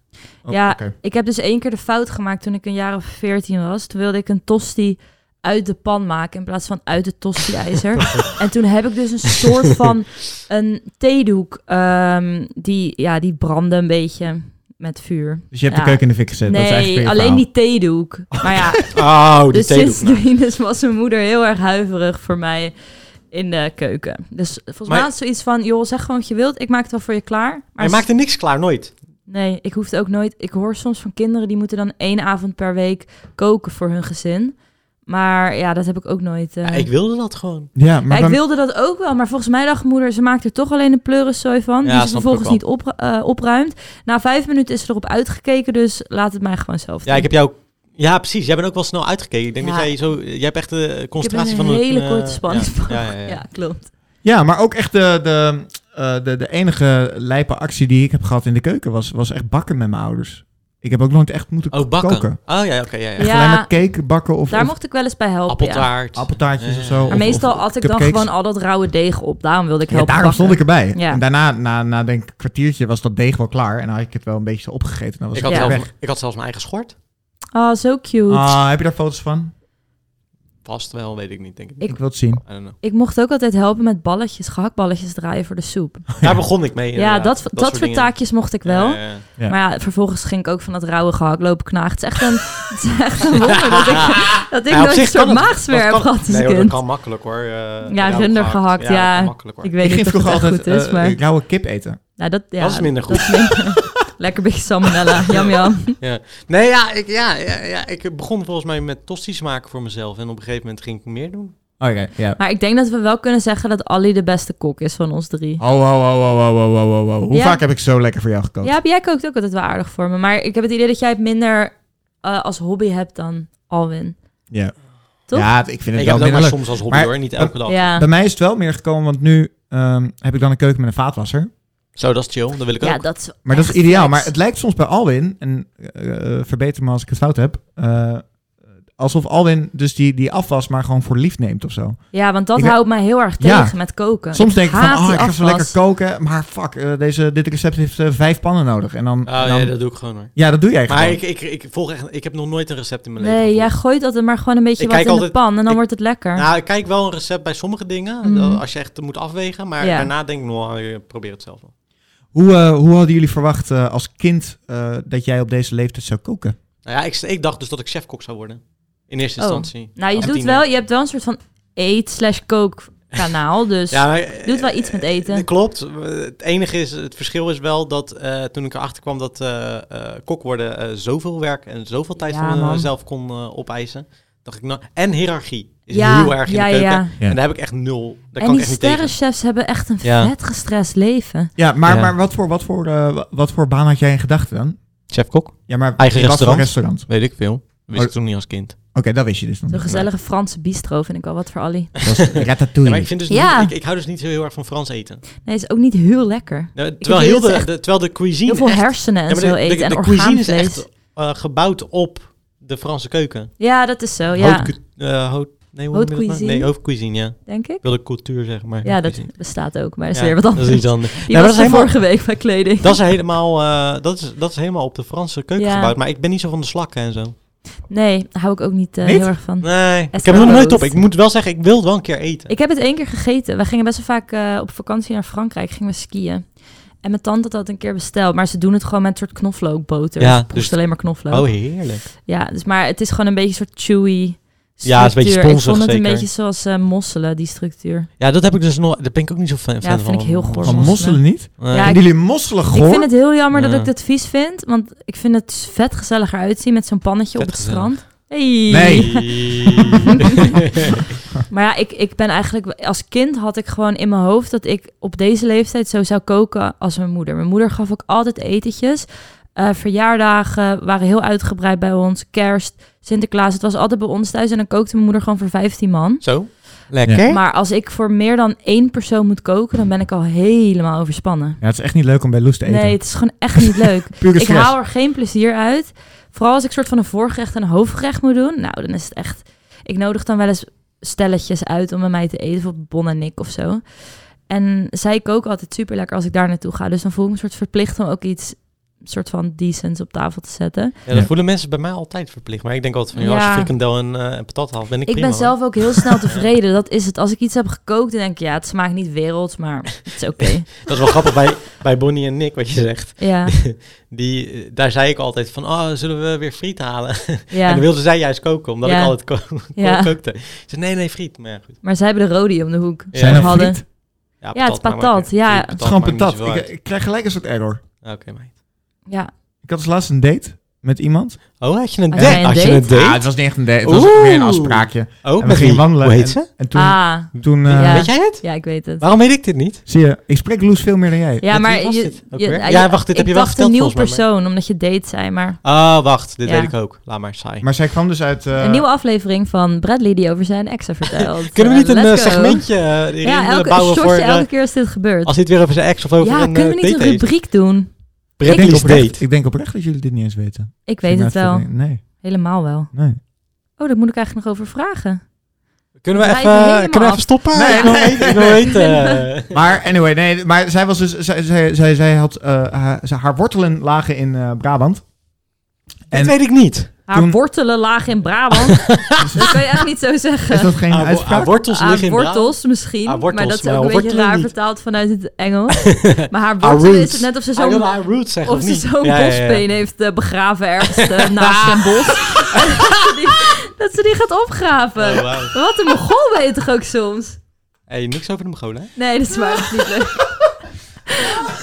Oh,
Ja.
oké.
Ik heb dus één keer de fout gemaakt toen ik een jaar of veertien was. Toen wilde ik een tosti uit de pan maken in plaats van uit het tosti-ijzer. en toen heb ik dus een soort van een theedoek ehm, die, ja, die brandde een beetje met vuur.
Dus je hebt
Ja.
de keuken in de fik gezet. dat is
nee,
eigenlijk weer je
alleen
verhaal.
die theedoek. Maar ja,
Oh, die
dus
theedoek. nou.
sindsdien dus was mijn moeder heel erg huiverig voor mij in de keuken. Dus volgens
Maar-
mij had ze zoiets van, joh, zeg gewoon wat je wilt. Ik maak het wel voor je klaar.
Maar je
ze-
maakte niks klaar, nooit.
Nee, ik hoefde ook nooit. Ik hoor soms van kinderen die moeten dan één avond per week koken voor hun gezin. Maar ja, dat heb ik ook nooit. eh.
Ja, ik wilde dat gewoon.
Ja, maar
Ja, ik
dan-
wilde dat ook wel, maar volgens mij dacht moeder, ze maakt er toch alleen een pleuriszooi van.
Ja,
die
snap
ze
ik
vervolgens
ook
niet op, eh, opruimt. Na vijf minuten is ze erop uitgekeken, dus laat het mij gewoon zelf
Ja,
doen.
ik heb jou... Ja, precies. Jij bent ook wel snel uitgekeken. Ik denk
Ja.
dat jij zo... Jij hebt echt de
ik heb
concentratie
een
van
hele
eh,
korte spanning.
Ja, ja, ja, ja.
ja, klopt.
ja, maar ook echt de, de, eh, de, de enige lijpe actie die ik heb gehad in de keuken was, was echt bakken met mijn ouders. Ik heb ook nooit echt moeten
Oh, bakken.
koken.
Oh ja, oké. ja, ja.
Echt
Ja.
alleen maar cake bakken of,
Daar
of
mocht ik wel eens bij helpen. Ja.
Appeltaart.
appeltaartjes
Ja.
of zo.
Maar
of-
meestal
of
at ik dan
cupcakes.
gewoon al dat rauwe deeg op. Daarom wilde ik
Ja,
helpen.
daarom stond ik erbij.
Ja.
En daarna, na, na denk ik een kwartiertje, was dat deeg wel klaar. En dan had ik het wel een beetje zo opgegeten. En dan was
Ik
ik
had,
Ja.
weer
zelf,
weg.
ik had zelfs mijn eigen schort.
Oh, zo cute.
Ah, heb je daar foto's van?
Vast wel, weet ik niet, denk ik.
Ik-
Ik, wil het zien.
I don't know.
Ik mocht ook altijd helpen met balletjes, gehaktballetjes draaien voor de soep.
Daar begon ik mee.
Ja, dat,
inderdaad.
dat,
soort
soort
dingen.
taakjes mocht ik wel.
Ja, ja, ja.
ja.
Maar ja, vervolgens ging ik ook van dat rauwe gehakt lopen knagen. Het is echt een, het is echt een wonder dat ik, dat ik
Ja, op
nooit
zich
een soort
kan het-
maagsfeer
dat
heb
kan-
gehad als
nee, hoor,
kind.
dat kan makkelijk hoor. eh,
Ja,
rauw
runder gehakt, ja.
dat kan makkelijk hoor.
Ik weet
ik
niet
ging
of het
vroeger
echt
altijd
goed is,
eh,
maar...
rauwe kip eten.
nou, dat, ja,
dat is minder goed.
minder. Lekker beetje salmonella, jam jam.
Nee, ja ik, ja, ja, ja, ik begon volgens mij met tosti's maken voor mezelf. En op een gegeven moment ging ik meer doen.
Oh, Oké, ja.
Maar ik denk dat we wel kunnen zeggen dat Ali de beste kok is van ons drie.
Oh, oh, oh, oh, oh, oh, oh, oh, oh. Hoe
Ja.
vaak heb ik zo lekker voor jou gekookt?
Ja, jij kookt ook altijd wel aardig voor me. Maar ik heb het idee dat jij het minder eh, als hobby hebt dan Alwin.
Ja.
Toch?
Ja, ik vind het
ik
wel
heb het ook
minder
maar
leuk.
soms als hobby
Maar-
hoor, niet elke dag.
Ja.
Bij mij is het wel meer gekomen, want nu ehm, heb ik dan een keuken met een vaatwasser.
Zo, dat is chill. Dat wil ik
ja,
ook.
dat is
Maar dat
echt
is ideaal.
flex.
Maar het lijkt soms bij Alwin, en eh, eh, verbeter me als ik het fout heb, eh, alsof Alwin dus die, die afwas maar gewoon voor lief neemt of zo.
Ja, want dat
Ik-
houdt mij heel erg
Ja.
tegen met koken.
Soms denk ik van,
haat
oh,
die
ik ga zo
afwas.
lekker koken, maar fuck, eh, deze, dit recept heeft eh, vijf pannen nodig. En dan,
Oh,
en dan-
ja, dat doe ik gewoon hoor.
ja, dat doe jij gewoon.
Maar ik, ik, ik, volg echt, ik heb nog nooit een recept in mijn leven.
Nee, jij
gevolgd.
gooit altijd maar gewoon een beetje
Ik
wat in
kijk
de
altijd-
pan en dan
ik-
wordt het lekker.
Nou, ik kijk wel een recept bij sommige dingen,
Mhm.
als je echt moet afwegen. Maar
Ja.
daarna denk ik, nou, ik probeer het zelf wel.
Hoe, eh, hoe hadden jullie verwacht eh, als kind eh, dat jij op deze leeftijd zou koken?
Nou ja, ik, ik dacht dus dat ik chefkok zou worden. In eerste
Oh.
instantie.
Nou, je
Als
doet
tiener.
wel, je hebt wel een soort van eet slash kook kanaal, dus
Ja, maar,
doet wel
eh,
iets met eten.
eh, Klopt. Het enige is, het verschil is wel dat eh, toen ik erachter kwam dat eh, eh, kok worden eh, zoveel werk en zoveel tijd
Ja,
van
man.
mezelf kon eh, opeisen. Dacht ik, nou, en hiërarchie is
ja,
heel erg in
ja,
de keuken.
ja.
En daar heb ik echt nul. Daar
En
kan ik
die
echt niet tegen.
sterrenchefs hebben echt een
Ja.
vet gestrest leven.
Ja, maar,
Ja.
maar wat, voor, wat, voor, eh, wa- wat voor baan had jij in gedachten dan?
Chefkok?
Ja, maar
Eigen
in wat voor
restaurant.
restaurant?
Weet ik veel. Wist
Oh.
ik toen niet als kind.
Oké, dat wist je dus nog
Zo'n
niet.
gezellige Franse bistro vind ik wel wat voor Ali.
Dat was
Ja,
ratatouille.
maar ik, vind dus
Ja.
niet, ik, ik hou dus niet heel, heel erg van Frans eten.
Nee, is ook niet heel lekker.
Nou, terwijl,
vind
heel
het
de,
echt-
de- terwijl de cuisine
Heel veel
echt-
hersenen en
Ja, maar
zo
de-
eten
de,
en
de cuisine is
orgaanvlees.
echt eh, gebouwd op de Franse keuken.
Ja, dat is zo, Oh, ja.
Haute cu- eh, haute- nee, hoe
Haute
noem je dat nou?
cuisine?
Nee, hoofdcuisine, ja.
Denk ik.
Ik wilde cultuur zeggen, maar...
Ja, dat
hoofdcuisine.
bestaat ook, maar dat is
Ja,
weer wat anders.
Dat is iets anders.
Die was
Ja, dat, is
van
helemaal,
vorige week bij kleding.
dat, is helemaal, eh, dat, is, dat is helemaal op de Franse keuken
Ja.
gebouwd. Maar ik ben niet zo van de slakken en zo.
Nee, daar hou ik ook niet eh,
Niet?
heel erg van.
Nee,
Het
ik heb het nog
brood.
nooit op. Ik moet wel zeggen, ik wil het wel een keer eten.
Ik heb het één keer gegeten. Wij gingen best wel vaak eh, op vakantie naar Frankrijk. Gingen we skiën. En mijn tante had dat een keer besteld. Maar ze doen het gewoon met een soort knoflookboter.
Ja,
Ja, dus
dus-
alleen maar knoflook.
Oh, heerlijk.
Ja, dus, maar het is gewoon een beetje een soort chewy structuur.
Ja, het is een beetje
Ik vond
sponsig
het een
zeker.
beetje zoals eh, mosselen, die structuur.
Ja, dat heb ik dus nog. Daar ben ik ook niet zo fan fan
Ja,
van.
vind ik heel goor.
Van mosselen niet?
Nee.
Ja,
Ja,
ik-
jullie mosselen goor?
Ik vind het heel jammer
Ja.
dat ik dat vies vind. Want ik vind het vet gezelliger uitzien met zo'n pannetje op
Vet
het
gezellig.
strand. Hey.
Nee.
Maar ja, ik, ik ben eigenlijk... Als kind had ik gewoon in mijn hoofd dat ik op deze leeftijd zo zou koken als mijn moeder. Mijn moeder gaf ook altijd etentjes. Eh, verjaardagen waren heel uitgebreid bij ons. Kerst, Sinterklaas. Het was altijd bij ons thuis. En dan kookte mijn moeder gewoon voor 15 man.
Zo, lekker.
Maar als ik voor meer dan één persoon moet koken, dan ben ik al helemaal overspannen.
Ja, het is echt niet leuk om bij Loes te eten.
Nee, het is gewoon echt niet leuk.
Pure
ik
stress.
haal er geen plezier uit. Vooral als ik soort van een voorgerecht en een hoofdgerecht moet doen. Nou, dan is het echt... Ik nodig dan wel eens stelletjes uit om met mij te eten. Bijvoorbeeld Bon en Nick of zo. En zij koken altijd super lekker als ik daar naartoe ga. Dus dan voel ik me een soort verplicht om ook iets soort van decents op tafel te zetten.
Ja, dat
Ja.
voelen mensen bij mij altijd verplicht. Maar ik denk altijd van, joh, als je
Ja.
frikandel en, eh, en patat haalt, ben ik,
Ik,
prima.
ben
hoor.
zelf ook heel snel tevreden. Dat is het. Als ik iets heb gekookt, dan denk ik, ja, het smaakt niet werelds, maar het is oké.
Dat is wel grappig bij, bij Bonnie en Nick, wat je zegt.
Ja,
Die, eh, daar zei ik altijd van, oh, zullen we weer friet halen? En
ja.
dan wilde zij juist koken, omdat
Ja.
ik altijd ko- ko-
Ja.
kookte. Ze zei, nee, nee, friet. Maar ja, goed.
Maar zij hebben de rodi om de hoek.
Ja.
Zijn er
We hadden-
friet?
Ja, het is
maakt maar
patat,
uit.
ja.
Friet,
Het is gewoon
maakt niet
patat.
zoveel
Ik,
uit.
ik krijg gelijk een soort error.
Oké, meid.
Ja.
Ik had dus laatst een date met iemand.
Oh, had je een
Had jij
date?
een
Had je een
date?
Ja,
date?
het was niet echt een date. Het was
Oeh.
meer een afspraakje.
Oh,
en
met
we gingen
wie?
wandelen.
Hoe heet
en,
ze?
En toen,
ah,
toen eh,
Ja.
Weet jij het?
ja, ik weet het.
Waarom weet ik dit niet?
zie je, ik spreek Loes veel meer dan jij.
Ja,
Met
maar
wie was
je,
dit ook
je-
weer?
ja,
Ja, wacht, dit
ik
heb je wel
dacht
verteld
een nieuw
volgens mij,
persoon, omdat je date zei, maar
Oh, wacht. Dit
Ja.
weet ik ook. Laat maar, saai.
Maar zij kwam dus uit... eh,
een nieuwe aflevering van Bradley die over zijn ex vertelt.
Kunnen we niet
Eh,
een eh,
let's go.
segmentje eh, erin
Ja,
willen
elke
bouwen
shotje,
voor... eh,
elke keer als dit gebeurt.
als hij het weer over zijn ex of over
ja,
een eh,
kunnen we niet
date
een
heeft.
rubriek doen?
ik, denk
Bradley's
oprecht,
date.
ik denk oprecht dat jullie dit niet eens weten.
Ik weet
Zit
het
maar even
wel,
te denken. Nee,
helemaal wel.
nee.
Oh, daar moet ik eigenlijk nog over vragen.
Kunnen we
Draait
even, eh,
helemaal
kunnen we
af.
even stoppen?
Nee,
ik wil
nee,
weten. eh, Ik wil weten.
Maar anyway, nee, maar zij was dus... Zij, zij, zij, zij had, eh, haar, ze- haar wortelen lagen in eh, Brabant.
Dat weet ik niet.
Haar
Toen-
wortelen lagen in Brabant. dat kan je echt niet zo zeggen.
Is dat geen
Haar Ah, wo-
uitspraak?
haar wortels
Haar
liggen in Brabant.
Ah, wortels misschien,
Haar wortels,
maar dat is
maar
ook een beetje
wortelen
raar
niet.
vertaald vanuit het Engels. maar haar wortelen is
roots. Ah,
het net of ze
Hij
zo'n
wilde haar roots zeggen,
Of
of
ze
niet?
zo'n
Ja, ja, ja.
bospeen heeft eh, begraven ergens eh, naast een bos. Die- dat ze die gaat opgraven.
Oh, wauw.
Wat een mogol ben je toch ook soms?
hey, niks over de Mongolen, hè?
Nee, dat is waar. Dat is niet leuk.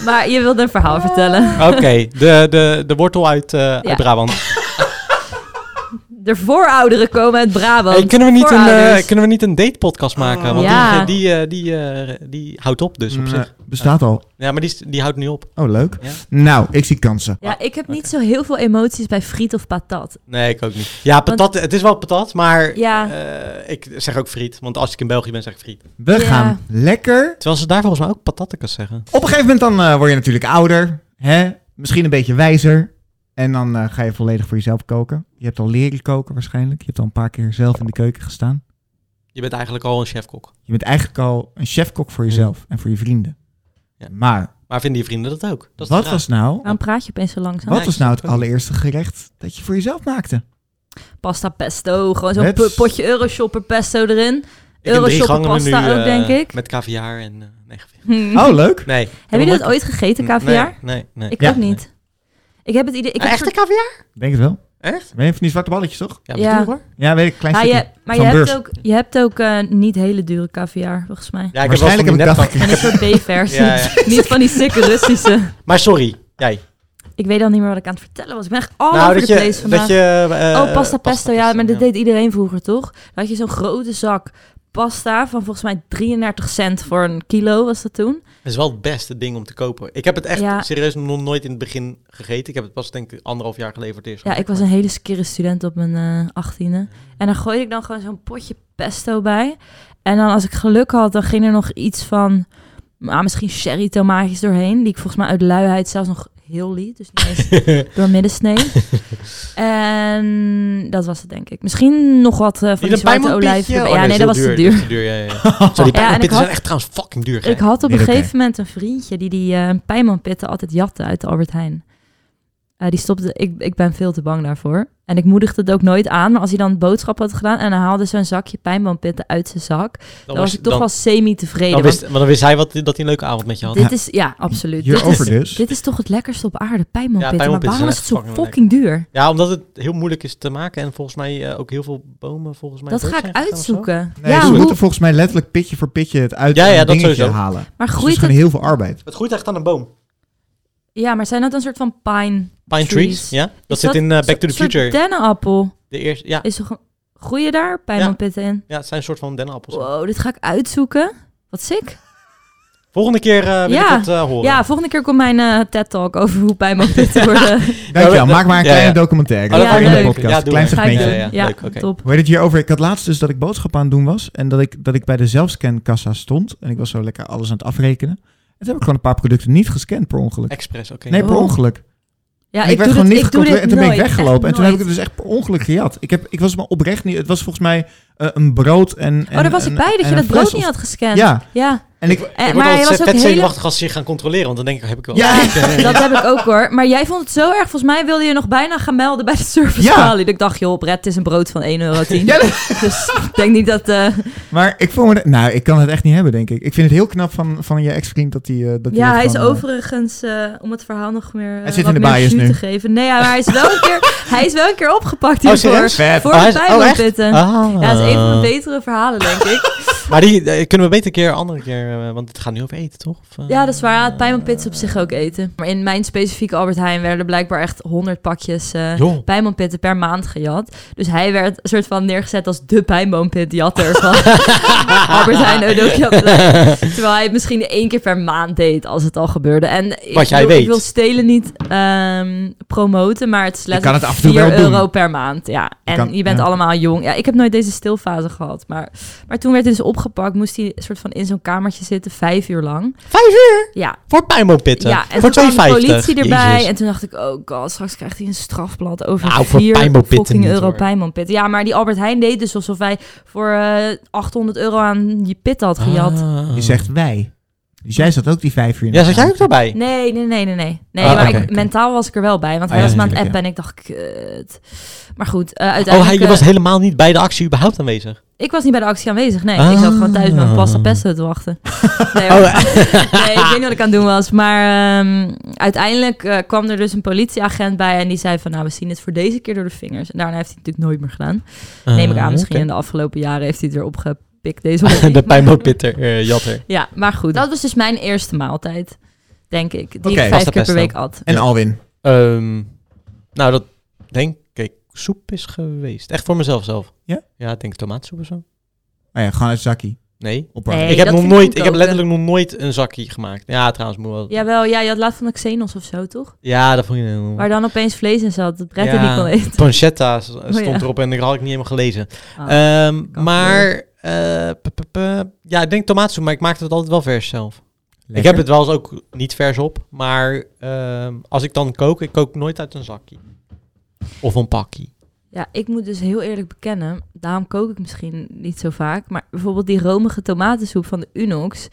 maar je wilde een verhaal vertellen.
Oké, de, de, de wortel uit, eh, uit Brabant.
De voorouderen komen uit Brabant.
Hey, kunnen, we niet een, eh,
Voorouders.
kunnen we niet een date-podcast maken? Want
Ja.
die, eh, die, die, eh, die houdt op dus, op
Mm,
zich.
eh, bestaat al.
Ja, maar die, is- die houdt nu op.
Oh, leuk.
Ja.
Nou, ik zie kansen.
Ja, ik heb niet zo heel veel emoties bij friet of patat.
Nee, ik ook niet. Ja, patat, het is wel patat, maar
Ja.
eh, ik zeg ook friet. Want als ik in België ben, zeg ik friet.
We
Ja.
gaan lekker
Terwijl ze daar volgens mij ook patattekas zeggen.
Op een gegeven moment dan eh, word je natuurlijk ouder, hè? misschien een beetje wijzer. En dan eh, ga je volledig voor jezelf koken. Je hebt al leren koken waarschijnlijk. Je hebt al een paar keer zelf in de keuken gestaan.
Je bent eigenlijk al een chefkok.
Je bent eigenlijk al een chefkok voor jezelf en voor je vrienden.
Ja.
Maar
Maar vinden je vrienden dat ook? Dat is de
wat
vraag.
was nou,
Waarom praat je opeens zo langzaam?
wat was nou het
Nee, ik snap het niet.
allereerste gerecht dat je voor jezelf maakte?
Pasta pesto. Gewoon zo'n
Het-
po- potje Euroshopper pesto erin.
Ik heb drie
Euroshopper
gangen menu,
pasta ook,
eh,
denk ik.
Met kaviaar en... eh, nee, grapje.
Hm.
Oh, leuk.
nee.
Hebben jullie dat
Nooit-
ooit gegeten,
Nee,
caviar?
Nee, nee.
Ik
Ja.
ook niet. Ik heb het idee. Ik heb
Echte
soort-
kaviaar?
Denk het wel.
Echt?
Ben je van die zwarte balletjes, toch?
Ja,
Ja.
ja. hoor.
Ja, weet ik, klein
Ja,
stukje.
je, maar je
Van
hebt,
beurs.
ook, je hebt ook eh, niet hele dure caviar, volgens mij.
Ja, ik heb wel
Waarschijnlijk
van
heb
die
ik dat
nep-
En een soort B-versie.
Ja, ja.
Niet van die sikke Russische.
Maar sorry, jij.
Ik weet al niet meer wat ik aan het vertellen was. Ik ben echt all
nou,
over
dat
de
je,
place
dat
vandaag.
je... eh,
oh, pasta pesto. Ja, maar dat
ja.
deed iedereen vroeger, toch? Dan had je zo'n grote zak pasta van volgens mij 33 cent voor een kilo, was dat toen?
Dat is wel het beste ding om te kopen. Ik heb het echt
Ja.
serieus nog nooit in het begin gegeten. Ik heb het pas denk ik anderhalf jaar geleverd is.
Ja, ik was een hele skere student op mijn eh, achttiende. en daar gooide ik dan gewoon zo'n potje pesto bij. En dan als ik geluk had, dan ging er nog iets van... ah, misschien sherry tomaatjes doorheen. Die ik volgens mij uit luiheid zelfs nog heel liet. Dus niet eens door midden snee. en dat was het denk ik. Misschien nog wat eh, van die zwarte olijven.
Oh,
erbij. ja, nee, dat was te
is
duur.
heel duur, ja, ja, ja.
Ja,
Zo, die
en ik
pijnmanpitten
had-
zijn echt trouwens fucking duur. hè?
Ik had op
Nee,
een
oké.
gegeven moment een vriendje die die eh pijnmanpitten altijd jatte uit de Albert Heijn. Eh, die stopte, ik, ik ben veel te bang daarvoor. En ik moedigde het ook nooit aan. Maar als hij dan boodschap had gedaan en hij haalde zo'n zakje pijnboompitten uit zijn zak, dan,
Dan
was ik toch
dan-
wel semi-tevreden.
dan
want
wist, maar dan wist hij wat, dat hij een leuke avond met je had.
dit is, ja, absoluut. Dit is,
Hierover dus.
dit is toch het lekkerste op aarde, pijnboompitten. maar
pijnboompitten
waarom
zijn
is het zo
echt fucking
fucking duur?
Ja, omdat het heel moeilijk is te maken en volgens mij eh, ook heel veel bomen volgens mij
Dat
dood
ga ik
zijn gegaan of zo.
uitzoeken.
Nee,
ja,
ze
hoe-
moeten volgens mij letterlijk pitje voor pitje het uit
Ja, ja,
een
dat
dingetje
sowieso.
halen. Dus
maar
het is
groeit
gewoon
het...
heel veel arbeid.
Het groeit echt aan een boom.
Ja, maar zijn dat een soort van pine...
Pine trees,
Trees.
ja. Dat
Is
zit in eh, Back to
Een
the
soort
Future.
dennenappel.
De eerste, ja,
Is er, groeien daar pijnboompitten in?
ja, het zijn een soort van dennenappels.
Wow, dit ga ik uitzoeken. Wat sick.
Volgende keer eh, wil
Ja.
ik het eh, horen.
Ja, volgende keer komt mijn eh, TED-talk over hoe pijnboompitten worden.
Dankjewel,
dat-
maak maar een
ja,
kleine
ja.
documentaire.
Oh, dat
in
vind ik
de
leuk.
podcast,
Ja,
een
doe
klein
maar.
Ga ik
segmentje.
doen.
Ja,
Ja,
ja, leuk, oké.
top.
Hoe heet het hierover? Ik had laatst dus dat ik boodschap aan het doen was. En dat ik, dat ik bij de zelfscankassa stond. En ik was zo lekker alles aan het afrekenen. En toen heb ik gewoon een paar producten niet gescand per ongeluk.
Express, oké.
Nee, per
Oh.
ongeluk.
Ja,
ik, werd
doe
gewoon
dit-
niet
ik doe
gecontroleerd. En
dit
toen ben ik
nooit,
weggelopen.
echt
En toen heb ik
nooit.
het dus echt per ongeluk gejat. Ik, heb, ik was me oprecht niet... Het was volgens mij eh, een brood en, dus en
Oh, daar was
een-
ik bij dat
en
je
een
dat brood
fles
niet
of-
had gescand.
Ja,
Ja.
en
En-
ik...
Ik word
Eh, maar hij
altijd
was
vet
ook heel...
zenuwachtig als ze zich gaan controleren, want dan denk ik, heb ik wel. Oh,
Ja,
Dat heb ik ook hoor. Maar jij vond het zo erg. Volgens mij wilde je nog bijna gaan melden bij de service
Ja.
ja. Ik dacht, joh, Brett, het is een brood van 1,10 euro.
Ja,
Dus ik denk niet dat... eh,
Maar ik voel me... Nou, ik kan het echt niet hebben, denk ik. Ik vind het heel knap van, van je ex-vriend dat hij... eh, dat hij
Ja,
dat
hij is
gewoon, eh,
overigens, eh, om het verhaal nog meer, eh,
Hij zit
wat
in de
meer
bias
jus
nu.
te geven. Nee, ja, maar hij is wel een keer, hij is wel een keer opgepakt hiervoor.
serieus?
Vet.
voor
Oh, hij
het
is- oh, echt?
pijnboompitten. Ja, dat is een van
Oh.
de betere verhalen, denk ik.
Maar die eh, kunnen we beter een keer, andere keer, eh, want het gaat nu over eten, toch? Of, eh,
Ja, dat is waar. Ja, het pijnboompitten is op zich ook eten. Maar in mijn specifieke Albert Heijn werden er blijkbaar echt 100 pakjes eh
Joh.
pijnboompitten per maand gejat. Dus hij werd een soort van neergezet als de pijnboompitjatter van Albert Heijn Odokiaplein. Terwijl hij het misschien één keer per maand deed als het al gebeurde. En ik
Wat jij
wil-
weet.
Ik wil stelen niet ehm, promoten, maar het is
kan
letterlijk
het af en toe
4
wel doen.
euro per maand. Ja, en
kan-
je bent
ja.
allemaal jong. Ja, ik heb nooit deze stilfase gehad, maar... Maar toen werd hij dus opgepakt, moest hij een soort van in zo'n kamertje zitten, vijf uur lang.
eh, Vijf uur?
Ja,
Voor pijnboompitten.
ja en
voor
toen kwam de
2,50.
politie erbij.
Jezus.
En toen dacht ik, oh god, straks krijgt hij een strafblad over
Nou, voor
vier
pijnboompitten
fucking
niet,
euro
hoor.
pijnboompitten. Ja, maar die Albert Heijn deed dus alsof hij voor eh, 800 euro aan je pitten had gejat.
Ah.
Je zegt wij. Dus jij zat ook die vijf uur in
Ja,
de
zat jij
avond.
ook daarbij?
Nee, nee, nee, nee, nee. nee
Ah,
maar
oké,
ik-
oké.
mentaal was ik er wel bij, want
Ah,
hij
ja,
was me aan het
natuurlijk,
appen en ik dacht, kut. Maar goed, eh,
Oh, hij
uiteindelijk...
je
eh,
was helemaal niet bij de actie überhaupt aanwezig.
Ik was niet bij de actie aanwezig, nee.
Ah.
Ik zat gewoon thuis met mijn pasta pesto te wachten.
Oh,
Nee, hoor. nee, ik weet niet wat ik aan het doen was. Maar ehm, uiteindelijk eh, kwam er dus een politieagent bij en die zei van... nou, we zien het voor deze keer door de vingers. En daarna heeft hij het natuurlijk nooit meer gedaan. Neem
Ah,
ik aan, misschien in de afgelopen jaren heeft hij het weer opgepikt. Deze hobby.
de
Maar-
pijnboompitten eh, jatter.
Ja, maar goed. Dat was dus mijn eerste maaltijd, denk ik. Die
Oké.
ik vijf
Pasta
keer per
pesto.
week at.
En Alwin.
Ehm, nou, dat denk ik soep is geweest. Echt voor mezelf zelf.
Ja?
Ja, ik denk tomaatsoep of zo.
Oh ja, gewoon uit het zakkie.
Nee.
Oppakken.
Nee.
ik heb
dat
nog
vind ik
nooit, ik heb
goedkoper.
letterlijk nog nooit een zakje gemaakt. Ja, trouwens, moet wel. Ja,
Jawel, ja, je had laatst van de Xenos of zo, toch?
dat vond je heel...
Waar dan opeens vlees in zat, dat Brett
Ja,
niet kon eten.
Pancetta s- stond
Oh, ja.
erop en dat had ik niet helemaal gelezen.
Ah,
Ehm,
kan
maar, eh, p- p- p- ja, ik denk tomaatsoep, maar ik maakte het altijd wel vers zelf. Ik
Lekker.
heb het wel eens ook niet vers op, maar ehm, als ik dan kook, ik kook nooit uit een zakje. Of een pakje.
Ja, ik moet dus heel eerlijk bekennen, daarom kook ik misschien niet zo vaak, maar bijvoorbeeld die romige tomatensoep van de Unox.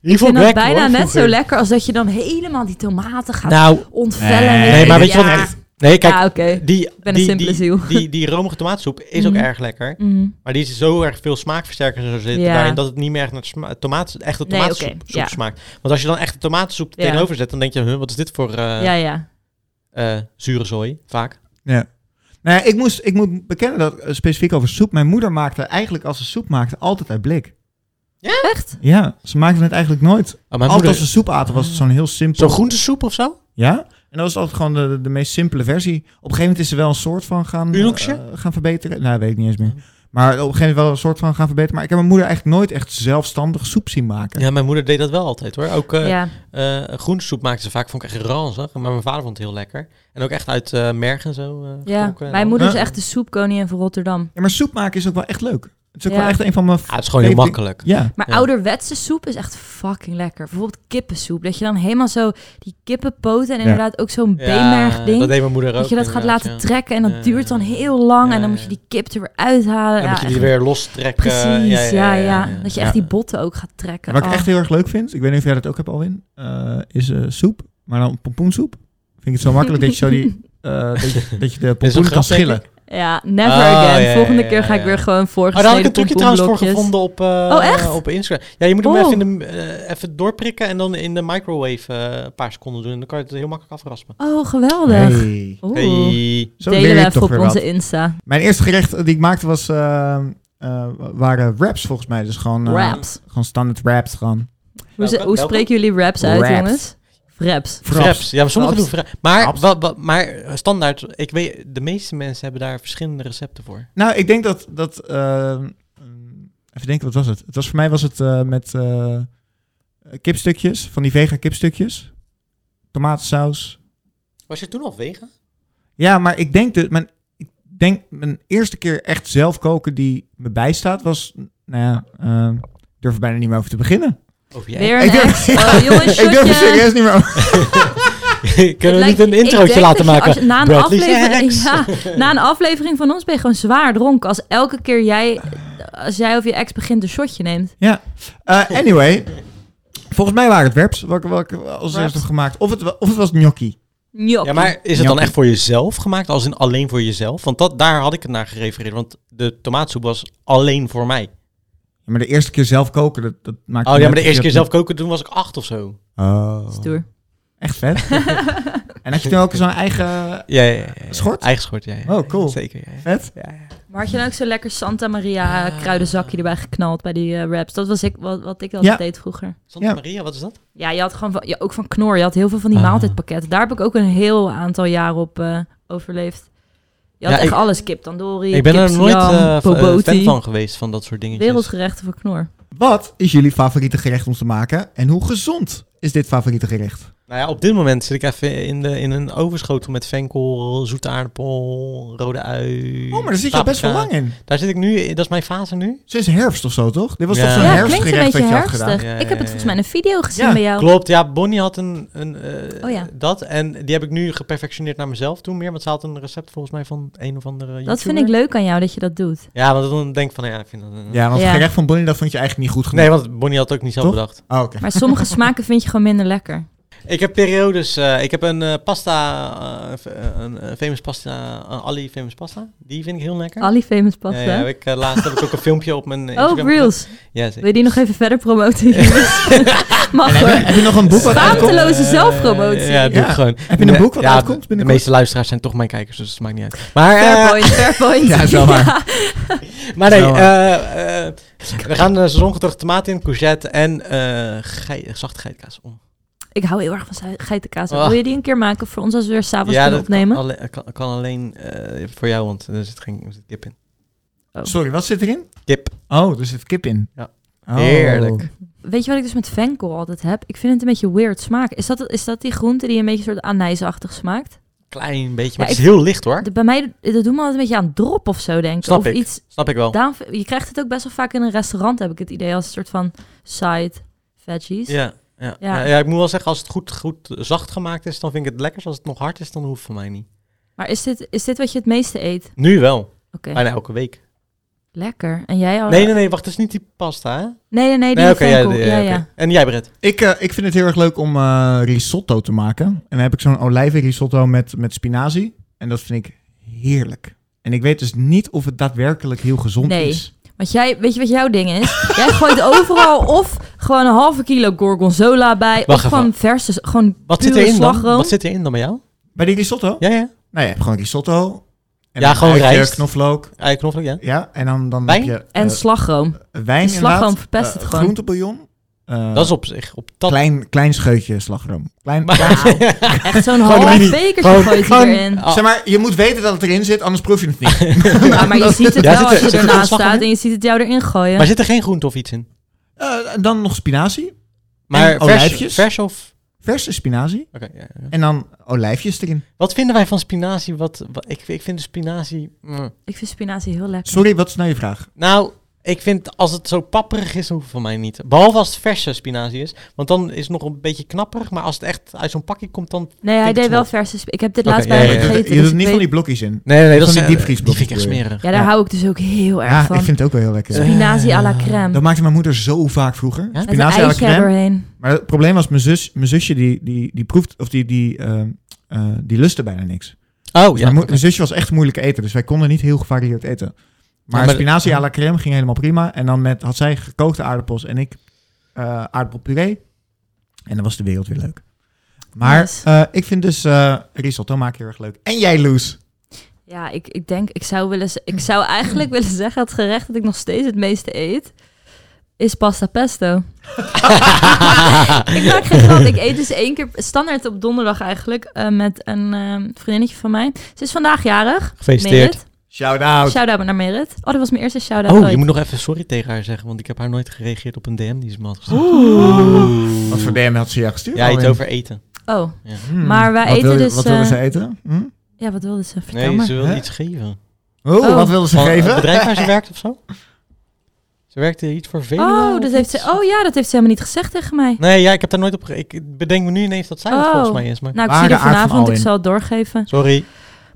Ik vind dat bijna net zo lekker als dat je dan helemaal die tomaten gaat
Nou,
ontvellen.
Nee,
nee, maar weet je
Ja.
wat? het- Nee, kijk,
Ah. ja, oké.
die,
ben een
die,
simpele
die, Eh.
ziel.
die, die romige tomaatsoep is ook
Mhm.
erg lekker,
Mhm.
maar die is zo erg veel smaakversterkers en zo zitten
Ja.
daarin dat het niet meer echt naar sma- tomaat, echte
Nee,
tomaatsoep
oké,
soep
ja.
smaakt. Want als je dan echte tomatensoep
Ja.
tegenover zet, dan denk je, huh, wat is dit voor eh,
ja, ja.
eh, zure zooi? Vaak.
Nou ja, ik, moest, ik moet bekennen dat eh, specifiek over soep. Mijn moeder maakte eigenlijk als ze soep maakte altijd uit blik.
Echt?
Ja, ze maakte het eigenlijk nooit.
Oh, mijn
Altijd
moeder,
als ze soep aten was het zo'n heel simpel.
zo'n groentesoep of zo?
Ja? En dat was altijd gewoon de, de meest simpele versie. Op een gegeven moment is ze wel een soort van gaan, eh,
Unoxje?
gaan verbeteren. Nou, weet ik niet eens meer. Maar op een gegeven moment wel een soort van gaan verbeteren. Maar ik heb mijn moeder eigenlijk nooit echt zelfstandig soep zien maken.
Ja, mijn moeder deed dat wel altijd hoor. Ook eh,
ja.
eh groentesoep maakten ze vaak, vond ik echt ranzig. Maar mijn vader vond het heel lekker. En ook echt uit eh merg en zo. eh,
ja.
getrokken en
Mijn
al.
moeder is
Ja.
echt de soepkoningin van Rotterdam.
Ja, maar soep maken is ook wel echt leuk. Het is ook
Ja.
wel echt een van mijn...
Ja, het is gewoon heel
Nee,
makkelijk.
Ja.
Maar
Ja.
ouderwetse soep is echt fucking lekker. Bijvoorbeeld kippensoep. Dat je dan helemaal zo die kippenpoten en
Ja.
inderdaad ook zo'n
Ja,
beemerg ding.
Dat deed mijn moeder ook.
Dat je dat gaat
inderdaad,
laten
ja.
trekken en dat
Ja,
duurt
ja,
dan
ja.
heel lang.
Ja,
en dan
ja,
moet je
ja.
die kip er weer uithalen.
En
Ja,
moet je die
echt-
weer lostrekken.
Precies, ja, ja, Dat je echt die
Ja.
botten ook gaat trekken.
Wat ik
Oh.
echt heel erg leuk vind, ik weet niet of jij dat ook hebt Alwin, eh, is eh, soep, maar dan pompoensoep. Vind ik het zo makkelijk dat je zo die eh, dat, je, dat je de
Is een
pompoen
grap,
kan schillen.
denk
Ja, never
Oh,
again.
ja, ja,
Volgende
ja,
keer ga
ja.
ik weer gewoon
Oh, daar had ik
voorgesneden
een trucje trouwens voor
pompoenblokjes.
gevonden op, eh,
Oh, echt?
op Instagram. Ja, je moet hem
Oh.
even, in de, eh, even doorprikken en dan in de microwave eh, een paar seconden doen. En dan kan je het heel makkelijk afraspen.
Oh, geweldig.
Hey.
Oeh.
Hey.
Zo leer
Delen we
je
even
toch
op
weer
onze
wat.
Insta.
Mijn eerste gerecht eh, die ik maakte was, eh, eh, waren wraps volgens mij. Dus gewoon, eh,
Raps.
gewoon standaard wraps. Gewoon.
Hoe, ze-
Welke?
hoe
Welke?
spreken jullie raps uit,
Raps.
jongens? Raps.
Fraps.
Fraps. Ja, maar sommigen doen
Fraps.
fraps. Maar,
Fraps.
wa- wa- maar standaard, ik weet, de meeste mensen hebben daar verschillende recepten voor.
Nou, ik denk dat... dat eh, mm, even denken, wat was het? het was, voor mij was het eh, met eh, kipstukjes, van die vegan kipstukjes. Tomatensaus,
Was je toen al vegan?
Ja, maar ik denk dat mijn, ik denk mijn eerste keer echt zelf koken die me bijstaat was, nou ja, ehm, ik durf er bijna niet meer over te beginnen.
Of
Weer
Ik
een
durf-
ex. Oh, jongens,
ik durf
shotje.
er serieus niet meer over.
Het
Kunnen we
lijkt-
niet een
ik
introotje
denk
laten
dat je
maken?
als je na, een
Bradley's
aflevering,
ex.
ja, na een aflevering van ons ben je gewoon zwaar dronken. Als elke keer jij, als jij of je ex begint een shotje neemt.
Eh, anyway, volgens mij waren het webs wat ik, wat ik als eerste heb gemaakt. Of het, wa- of het was gnocchi.
Njok.
Ja, maar is het dan
Gnocchi.
echt voor jezelf gemaakt? Als in alleen voor jezelf? Want dat, daar had ik het naar gerefereerd. Want de tomaatsoep was alleen voor mij.
Ja, maar de eerste keer zelf koken, dat, dat maakt...
Oh ja,
me
maar de
net
eerste keer
verkeerd.
zelf koken, toen was ik acht of zo.
Oh,
Stoer.
echt vet. en had je toen ook zo'n eigen...
Ja, ja, ja, ja.
Schort?
Eigen schort, ja. ja.
Oh, cool.
Zeker, ja. ja.
Vet.
Maar had je dan ook zo'n lekker Santa Maria kruidenzakje erbij geknald bij die eh, raps? Dat was ik, wat, wat ik altijd
Ja.
deed vroeger.
Santa
Ja.
Maria, wat is dat?
Ja, je had gewoon van, ja, ook van Knor. Je had heel veel van die
Ah.
maaltijdpakketten. Daar heb ik ook een heel aantal jaar op eh, overleefd. Je had
Ja,
echt
ik-
alles. Kip tandoori,
ik ben er
kip
nooit
siam,
eh, v- eh, fan
boboti.
van geweest, van dat soort dingetjes.
Wereldgerechten voor Knor.
Wat is jullie favoriete gerecht om te maken? En hoe gezond is dit favoriete gerecht?
Nou ja, op dit moment zit ik even in, de, in een overschotel met venkel, zoete aardappel, rode ui.
Oh, maar daar zit je al best wel
paprika.
lang in.
Daar zit ik nu, in- dat is mijn fase nu.
Sinds herfst of zo, toch? Dit was
Ja.
toch zo'n
Ja, klinkt een
herfstgerecht
beetje
dat je had gedaan?
herfstig.
gedaan. Ja,
Ik heb
ja,
het
ja,
volgens mij in een video gezien
Ja,
bij jou.
Klopt, ja, Bonnie had een, een eh,
Oh ja.
dat en die heb ik nu geperfectioneerd naar mezelf toe meer, want ze had een recept volgens mij van een of andere
Dat
YouTuber.
vind ik leuk aan jou, dat je dat doet.
Ja, want dan denk ik van, ja, ik vind dat... eh,
Ja, want het
Ja.
gerecht van Bonnie, dat vond je eigenlijk niet goed genoeg.
Nee, want Bonnie had het ook niet zelf
Toch?
bedacht.
Oh, oké.
Maar sommige smaken vind je gewoon minder lekker.
Ik heb periodes. eh, ik heb een eh, pasta, eh, f- eh, een eh, famous pasta, een Ali famous pasta. Die vind ik heel lekker.
Ali famous
Ja,
Ah, pasta.
ja, heb ik, eh, laatst heb ik ook een filmpje op mijn eh,
oh,
Instagram.
Reels.
gezet. Ja,
Wil je
zeker.
die nog even verder promoten? Mag
En heb, je,
hoor.
heb je nog een boek wat uitkomt?
Schaamteloos. Schaamteloze zelfpromotie.
Eh, ja, doe
Ja.
ik gewoon.
Heb je een boek wat
ja,
uitkomt
De
binnenkort?
meeste luisteraars zijn toch mijn kijkers, dus het maakt niet uit. Maar,
Fair
eh,
point, fair point.
Ja, zo maar.
maar nee,
Zo.
eh, eh, we gaan uh, zongetocht tomaten in, courgette en eh gei- zachte geitkaas om.
Ik hou heel erg van zei- geitenkaas.
Ah.
Wil je die een keer maken voor ons als we weer s'avonds
ja,
kunnen
dat
opnemen?
Kan, alle- kan, kan alleen eh, voor jou, want er zit geen er zit kip in.
Sorry, wat zit erin?
Kip.
Oh, er zit kip in.
Ja.
Oh.
Heerlijk.
Weet je wat ik dus met venkel altijd heb? Ik vind het een beetje weird smaak. Is dat, is dat die groente die een beetje soort anijsachtig smaakt?
Klein beetje, maar
Ja,
het is heel licht hoor.
De- bij mij, dat doet me altijd een beetje aan drop of zo, denk ik.
Snap
of
ik. Oh.
iets.
Snap ik wel.
Daarom, v- je krijgt het ook best wel vaak in een restaurant, heb ik het idee. Als een soort van side veggies.
Ja, ja. Nou
Ja.
Ja, ja, ik moet wel zeggen, als het goed, goed zacht gemaakt is, dan vind ik het lekkers. Als het nog hard is, dan hoeft het voor mij niet.
Maar is dit, is dit wat je het meeste eet?
Nu wel.
Oké,
Bijna elke week.
lekker. En jij al?
Nee, nee, nee, wacht, het is niet die pasta, hè?
nee, nee, nee, Oh. die
oké,
venkel.
ja,
Ja,
ja,
ja,
oké. En jij, Brett?
Ik, eh, ik vind het heel erg leuk om eh, risotto te maken. En dan heb ik zo'n olijvenrisotto met, met spinazie. En dat vind ik heerlijk. En ik weet dus niet of het daadwerkelijk heel gezond
Nee.
is.
Want jij, weet je wat jouw ding is? jij gooit overal of gewoon een halve kilo gorgonzola bij.
Wacht
of
even.
gewoon verse, gewoon
Wat
pure
zit erin dan?
slagroom.
Wat zit erin dan bij jou?
Bij die risotto?
Ja, ja.
Nou, je hebt gewoon risotto. En
Ja,
dan
gewoon
eitje,
rijst.
knoflook.
Eierknoflook, Ah, ja.
Ja, en dan, dan
Wijn?
heb je...
En
eh,
slagroom.
wijn
Die slagroom
inderdaad,
verpest
eh,
het gewoon.
groentebouillon. eh,
Dat is op zich, op dat...
Klein, klein scheutje slagroom. Klein,
Echt zo'n
Gewoon
half
mini.
bekertje
Gewoon-
gooit hij
gewoon-
erin.
Ah,
Zeg maar, je moet weten dat het erin zit, anders proef je het niet.
Ja, maar je ziet het
Ja,
wel
zit er-
als
zit
je
er
ernaast
slag
staat
in?
en je ziet het jou erin gooien.
Maar zit er geen groente of iets in?
Eh, dan nog spinazie,
Maar
En
vers,
olijfjes?
vers of...
verse spinazie.
Oké, ja, ja.
En dan olijfjes erin.
Wat vinden wij van spinazie? Wat, wat- ik, ik vind de spinazie... mm.
Ik vind spinazie heel lekker.
Sorry, wat is nou je vraag?
Nou, ik vind als het zo papperig is, hoeft het van mij niet. Behalve als het verse spinazie is. Want dan is het nog een beetje knapperig. Maar als het echt uit zo'n pakje komt, dan...
Nee, hij
Vind ik
deed
het
wel
wel.
verse sp- Ik heb dit
Oké,
laatst
ja,
bij
ja,
hem
ja.
gegeten.
Eh, je doet
dus
niet
ik
van die
weet-
blokjes in.
Nee, nee, dat
Van
is...
die
eh,
diepvriesblokjes
die vind ik echt
bedoel je?
smerig.
Ja, daar
Ja.
hou ik dus ook heel erg
Ja,
van.
ik vind het ook wel heel lekker.
Spinazie à la crème.
Dat maakte mijn moeder zo vaak vroeger.
Ja?
Met een
Spinazie à la
eitje
crème.
erheen.
Maar het probleem was, mijn, zus, mijn zusje die, die, die proeft, of die, die, eh, eh, die lustte bijna niks.
Oh, ja.
mijn, mo- mijn zusje was echt moeilijk eten, dus wij konden niet heel gevarieerd eten. Maar,
Ja, maar-
spinazie à la crème ging helemaal prima. En dan met, had zij gekookte aardappels en ik eh, aardappelpuree. En dan was de wereld weer leuk. Maar
Nice.
eh, ik vind dus eh risotto maken heel erg leuk. En jij, Loes.
Ja, ik, ik denk, ik zou, willen, z- ik zou eigenlijk willen zeggen... het gerecht dat ik nog steeds het meeste eet... is pasta pesto. ik maak geen grap. Ik eet dus één keer standaard op donderdag eigenlijk... eh, met een eh, vriendinnetje van mij. Ze is vandaag jarig.
Gefeliciteerd.
Merit.
Shout-out.
Shout-out naar Merit. Oh, dat was mijn eerste shout-out
Oh,
ooit.
je moet nog even sorry tegen haar zeggen, want ik heb haar nooit gereageerd op een DM die ze me had gestuurd.
Oh.
Oeh. Wat voor DM had ze jou gestuurd?
Ja, iets
Alwin?
over eten.
Oh,
Hmm.
Maar wij
Wat
eten
wil je-
dus,
Wat wilden
eh,
ze eten? Hm?
ja, wat wilde ze? Vertel
Nee,
maar.
ze wilde
Hè?
iets geven.
Oh,
Oh.
wat wilden ze
Van
geven?
het bedrijf waar ze werkt of zo? Ze werkte iets voor Velo.
Oh,
of
dat heeft ze,
iets?
oh ja, dat heeft ze helemaal niet gezegd tegen mij.
Nee, ja, ik heb daar nooit op... ge- Ik bedenk me nu ineens dat zij het
Oh.
volgens mij is, maar...
Nou, ik
Waar
zie
de
er
aard van
vanavond,
al
ik
in.
zal het doorgeven.
Sorry.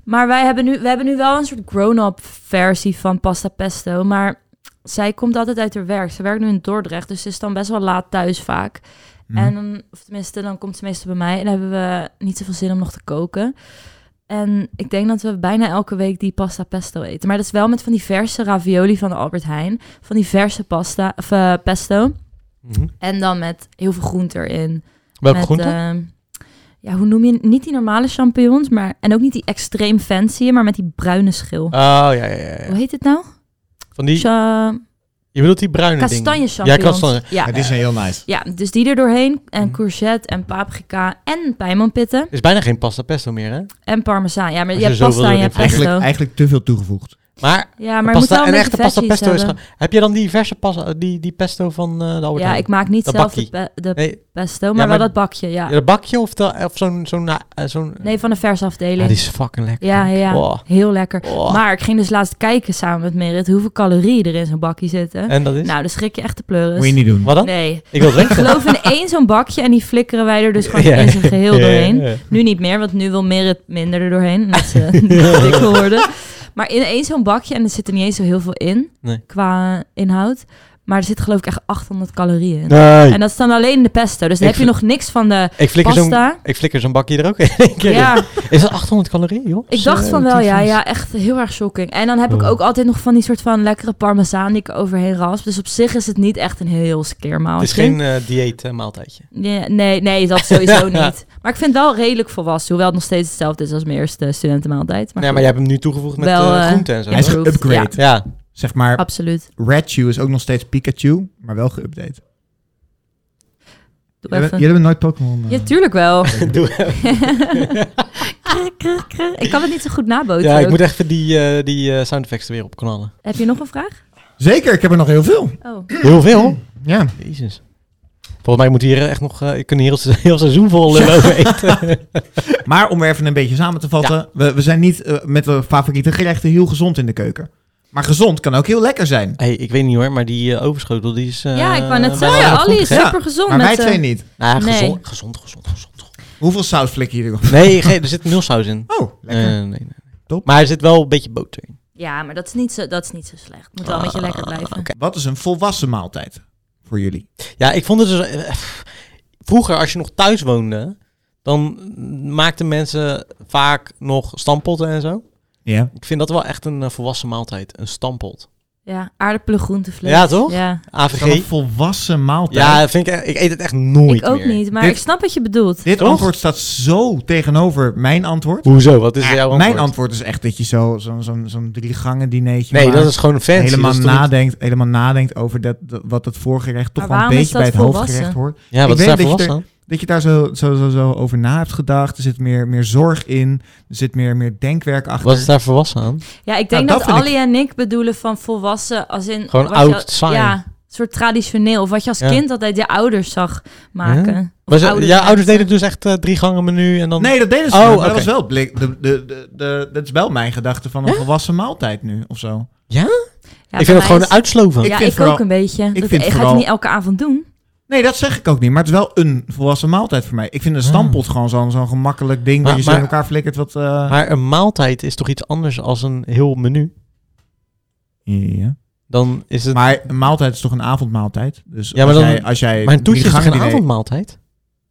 Maar wij hebben nu, we hebben nu wel een soort grown-up versie van pasta pesto. Maar zij komt altijd uit haar werk. Ze werkt nu in Dordrecht, dus ze is dan best wel laat thuis vaak.
Hm.
En dan, of tenminste, dan komt ze meestal bij mij en dan hebben we niet zoveel zin om nog te koken. En ik denk dat we bijna elke week die pasta pesto eten. Maar dat is wel met van die verse ravioli van de Albert Heijn. Van die verse pasta, of eh, pesto.
Mhm.
En dan met heel veel groente erin.
Welke
Met,
groente?
ehm, ja, hoe noem je niet die normale champignons, maar en ook niet die extreem fancy, maar met die bruine schil.
Oh, ja, ja, ja. ja.
Hoe heet het nou?
Van die...
Cha-
Je bedoelt die bruine
kastanje
dingen? Ja, Mhm.
champignons.
kastanje.
Ja,
Het is een heel nice.
ja, dus die er doorheen en
Mm.
courgette en paprika en pijnmanpitten
Er is bijna geen pasta pesto meer, hè?
en parmezaan. Ja, maar
Als
je
je
hebt
zo
pasta
wil,
en je
dan
hebt
heb je
pesto.
Eigenlijk, eigenlijk te veel toegevoegd.
Maar,
Ja, maar je moet
pasta,
wel een
een
beetje
echte pasta
veggies
pesto is...
hebben.
ge- Heb je dan die verse pasta, die, die pesto van eh de Albert
Ja,
Heijn?
ik maak niet
Dat
zelf de,
bakkie.
pe- de
Nee,
pesto, maar,
maar-
wel dat bakje, ja.
Ja, dat bakje of, de, of zo'n... zo'n eh, zo'n-
Nee, van de verse
Ja,
afdeling.
die is fucking lekker.
Ja, ja, ja.
Oh.
heel lekker.
Oh.
Maar ik ging dus laatst kijken samen met Merit hoeveel calorieën er in zo'n bakje zitten.
En dat is?
Nou, dan schrik je echt de pleuris.
Moet je niet doen.
Wat dan?
Nee.
Ik wil het
Ik
weten.
geloof in één zo'n bakje en die flikkeren wij er dus gewoon
Ja.
in zijn geheel
Ja, ja,
doorheen.
ja.
Nu niet meer, want nu wil Merit minder er doorheen. eh, Omdat ze dik wil worden. Maar in één zo'n bakje, en er zit er niet eens zo heel veel in
Nee.
qua inhoud. Maar er zit geloof ik echt 800 calorieën in. En dat is dan alleen de pesto. Dus dan
Ik
heb je nog niks van de
Ik flikker zo'n
pasta.
ik flikker zo'n bakje er ook in. één keer in.
Ja,
Is dat 800 calorieën, joh?
ik dacht
Zo,
van wel, ja,
tyfus.
ja, echt heel erg shocking. En dan heb ik
Oh.
ook altijd nog van die soort van lekkere parmezaan die ik er overheen rasp. Dus op zich is het niet echt een heel skeer
Het is
maaltje.
geen eh, dieet eh, maaltijdje.
Ja, nee, nee, dat sowieso niet. Maar ik vind het wel redelijk volwassen, hoewel het nog steeds hetzelfde is als mijn eerste studentenmaaltijd. Maar,
nee, maar jij
goed,
hebt hem nu toegevoegd met
Wel,
eh,
eh,
groenten en zo.
Hij is
hè?
Approved,
geupgrade.
Ja,
Zeg maar,
absoluut.
Raichu is ook nog steeds Pikachu, maar wel geüpdate.
Doe
Jullie
even.
hebben nooit Pokémon... eh,
ja, tuurlijk wel.
doe even.
Krr, krr, krr. ik kan het niet zo goed naboten.
ja ik
ook.
moet even die, eh, die eh, sound effects er weer op knallen.
Heb je nog een vraag?
Zeker, ik heb er nog heel veel.
Oh.
Heel veel?
Ja.
Jezus. Volgens mij moet hier echt nog... eh, Ik kan hier heel, se- heel seizoen vol eh, lopen eten.
Maar om er even een beetje samen te vatten. We, we zijn niet eh, met de favoriete gerechten heel gezond in de keuken. Maar gezond kan ook heel lekker zijn.
hey, ik weet niet hoor, maar die eh, overschotel, die is... eh,
ja, ik wou net
bijna
zeggen,
goed
Ali is
gegeten.
Ja,
super gezond.
maar wij
met, eh,
twee niet.
Nou,
Nee.
gezond, gezond, gezond, gezond. gezond.
Hoeveel saus flikken jullie op?
Nee, ge- er zit nul saus in.
Oh,
Eh,
lekker.
nee, nee.
Top.
Maar er zit wel een beetje boter in.
Ja, maar dat is niet zo, dat is niet zo slecht. Moet
Ah.
wel een beetje lekker blijven.
Wat is een volwassen maaltijd voor jullie?
Ja, ik vond het dus... eh, pff, vroeger, als je nog thuis woonde, dan maakten mensen vaak nog stampotten en zo.
Ja.
Ik vind dat wel echt een eh, volwassen maaltijd. Een stampot.
Ja, aardappelen, groentevlees.
Ja, toch?
Ja.
Is dat een
AVG.
volwassen maaltijd?
Ja, vind ik, echt- ik eet het echt nooit
Ik ook
meer.
niet, maar
Dit-
ik snap wat je bedoelt.
Dit
Toch?
antwoord staat zo tegenover mijn antwoord.
Hoezo? Wat is
Ja,
jouw antwoord?
Mijn antwoord is echt dat je zo'n zo, zo'n zo'n drie gangen dinertje
Nee,
maakt.
dat is gewoon een fancy. dus
helemaal
dat is toch niet-
nadenkt, helemaal nadenkt over dat, dat- wat het voorgerecht toch
Maar
wel een
waarom is
beetje bij het
dat
hoofdgerecht
volwassen?
hoort.
Ja, wat
Ik
is
weet
daar
dat je
volwassen aan?
Dat je daar zo, zo, zo, zo over na hebt gedacht. Er zit meer, meer zorg in. Er zit meer, meer denkwerk achter.
Wat is daar volwassen aan?
Ja, ik denk
Nou, dat
dat,
vind
Ali en ik bedoelen van volwassen als in...
Gewoon
wat je-
oud, saai.
Ja, een soort traditioneel. Of wat je als
Ja.
kind altijd je ouders zag maken. Of
Was, het- ja, ouders
maakten.
deden dus echt eh, drie gangen menu en dan...
Nee, dat deden ze niet,
Oh,
maar
oké.
dat was wel het blik. De, de, de, de- dat is wel mijn gedachte van een volwassen maaltijd nu of zo.
Ja,
ik
bij
vind
mij
dat gewoon
is-
uitsloven.
Ik
ja,
vind
ik
vooral-
ook een beetje.
ik
dat
vind
ga ik
vooral-
het niet elke avond doen.
Nee, dat zeg ik ook niet. Maar het is wel een volwassen maaltijd voor mij. Ik vind een stampot gewoon zo'n zo'n gemakkelijk ding.
Maar-
waar je zo in
maar-
elkaar flikkert. Wat, eh,
Maar een maaltijd is toch iets anders als een heel menu?
ja.
Dan is het... Maar,
maar een maaltijd is toch een avondmaaltijd? Dus
Ja, maar
als,
dan-
jij, als jij
een toetje
drie
is toch
gangen
een
diner-
avondmaaltijd?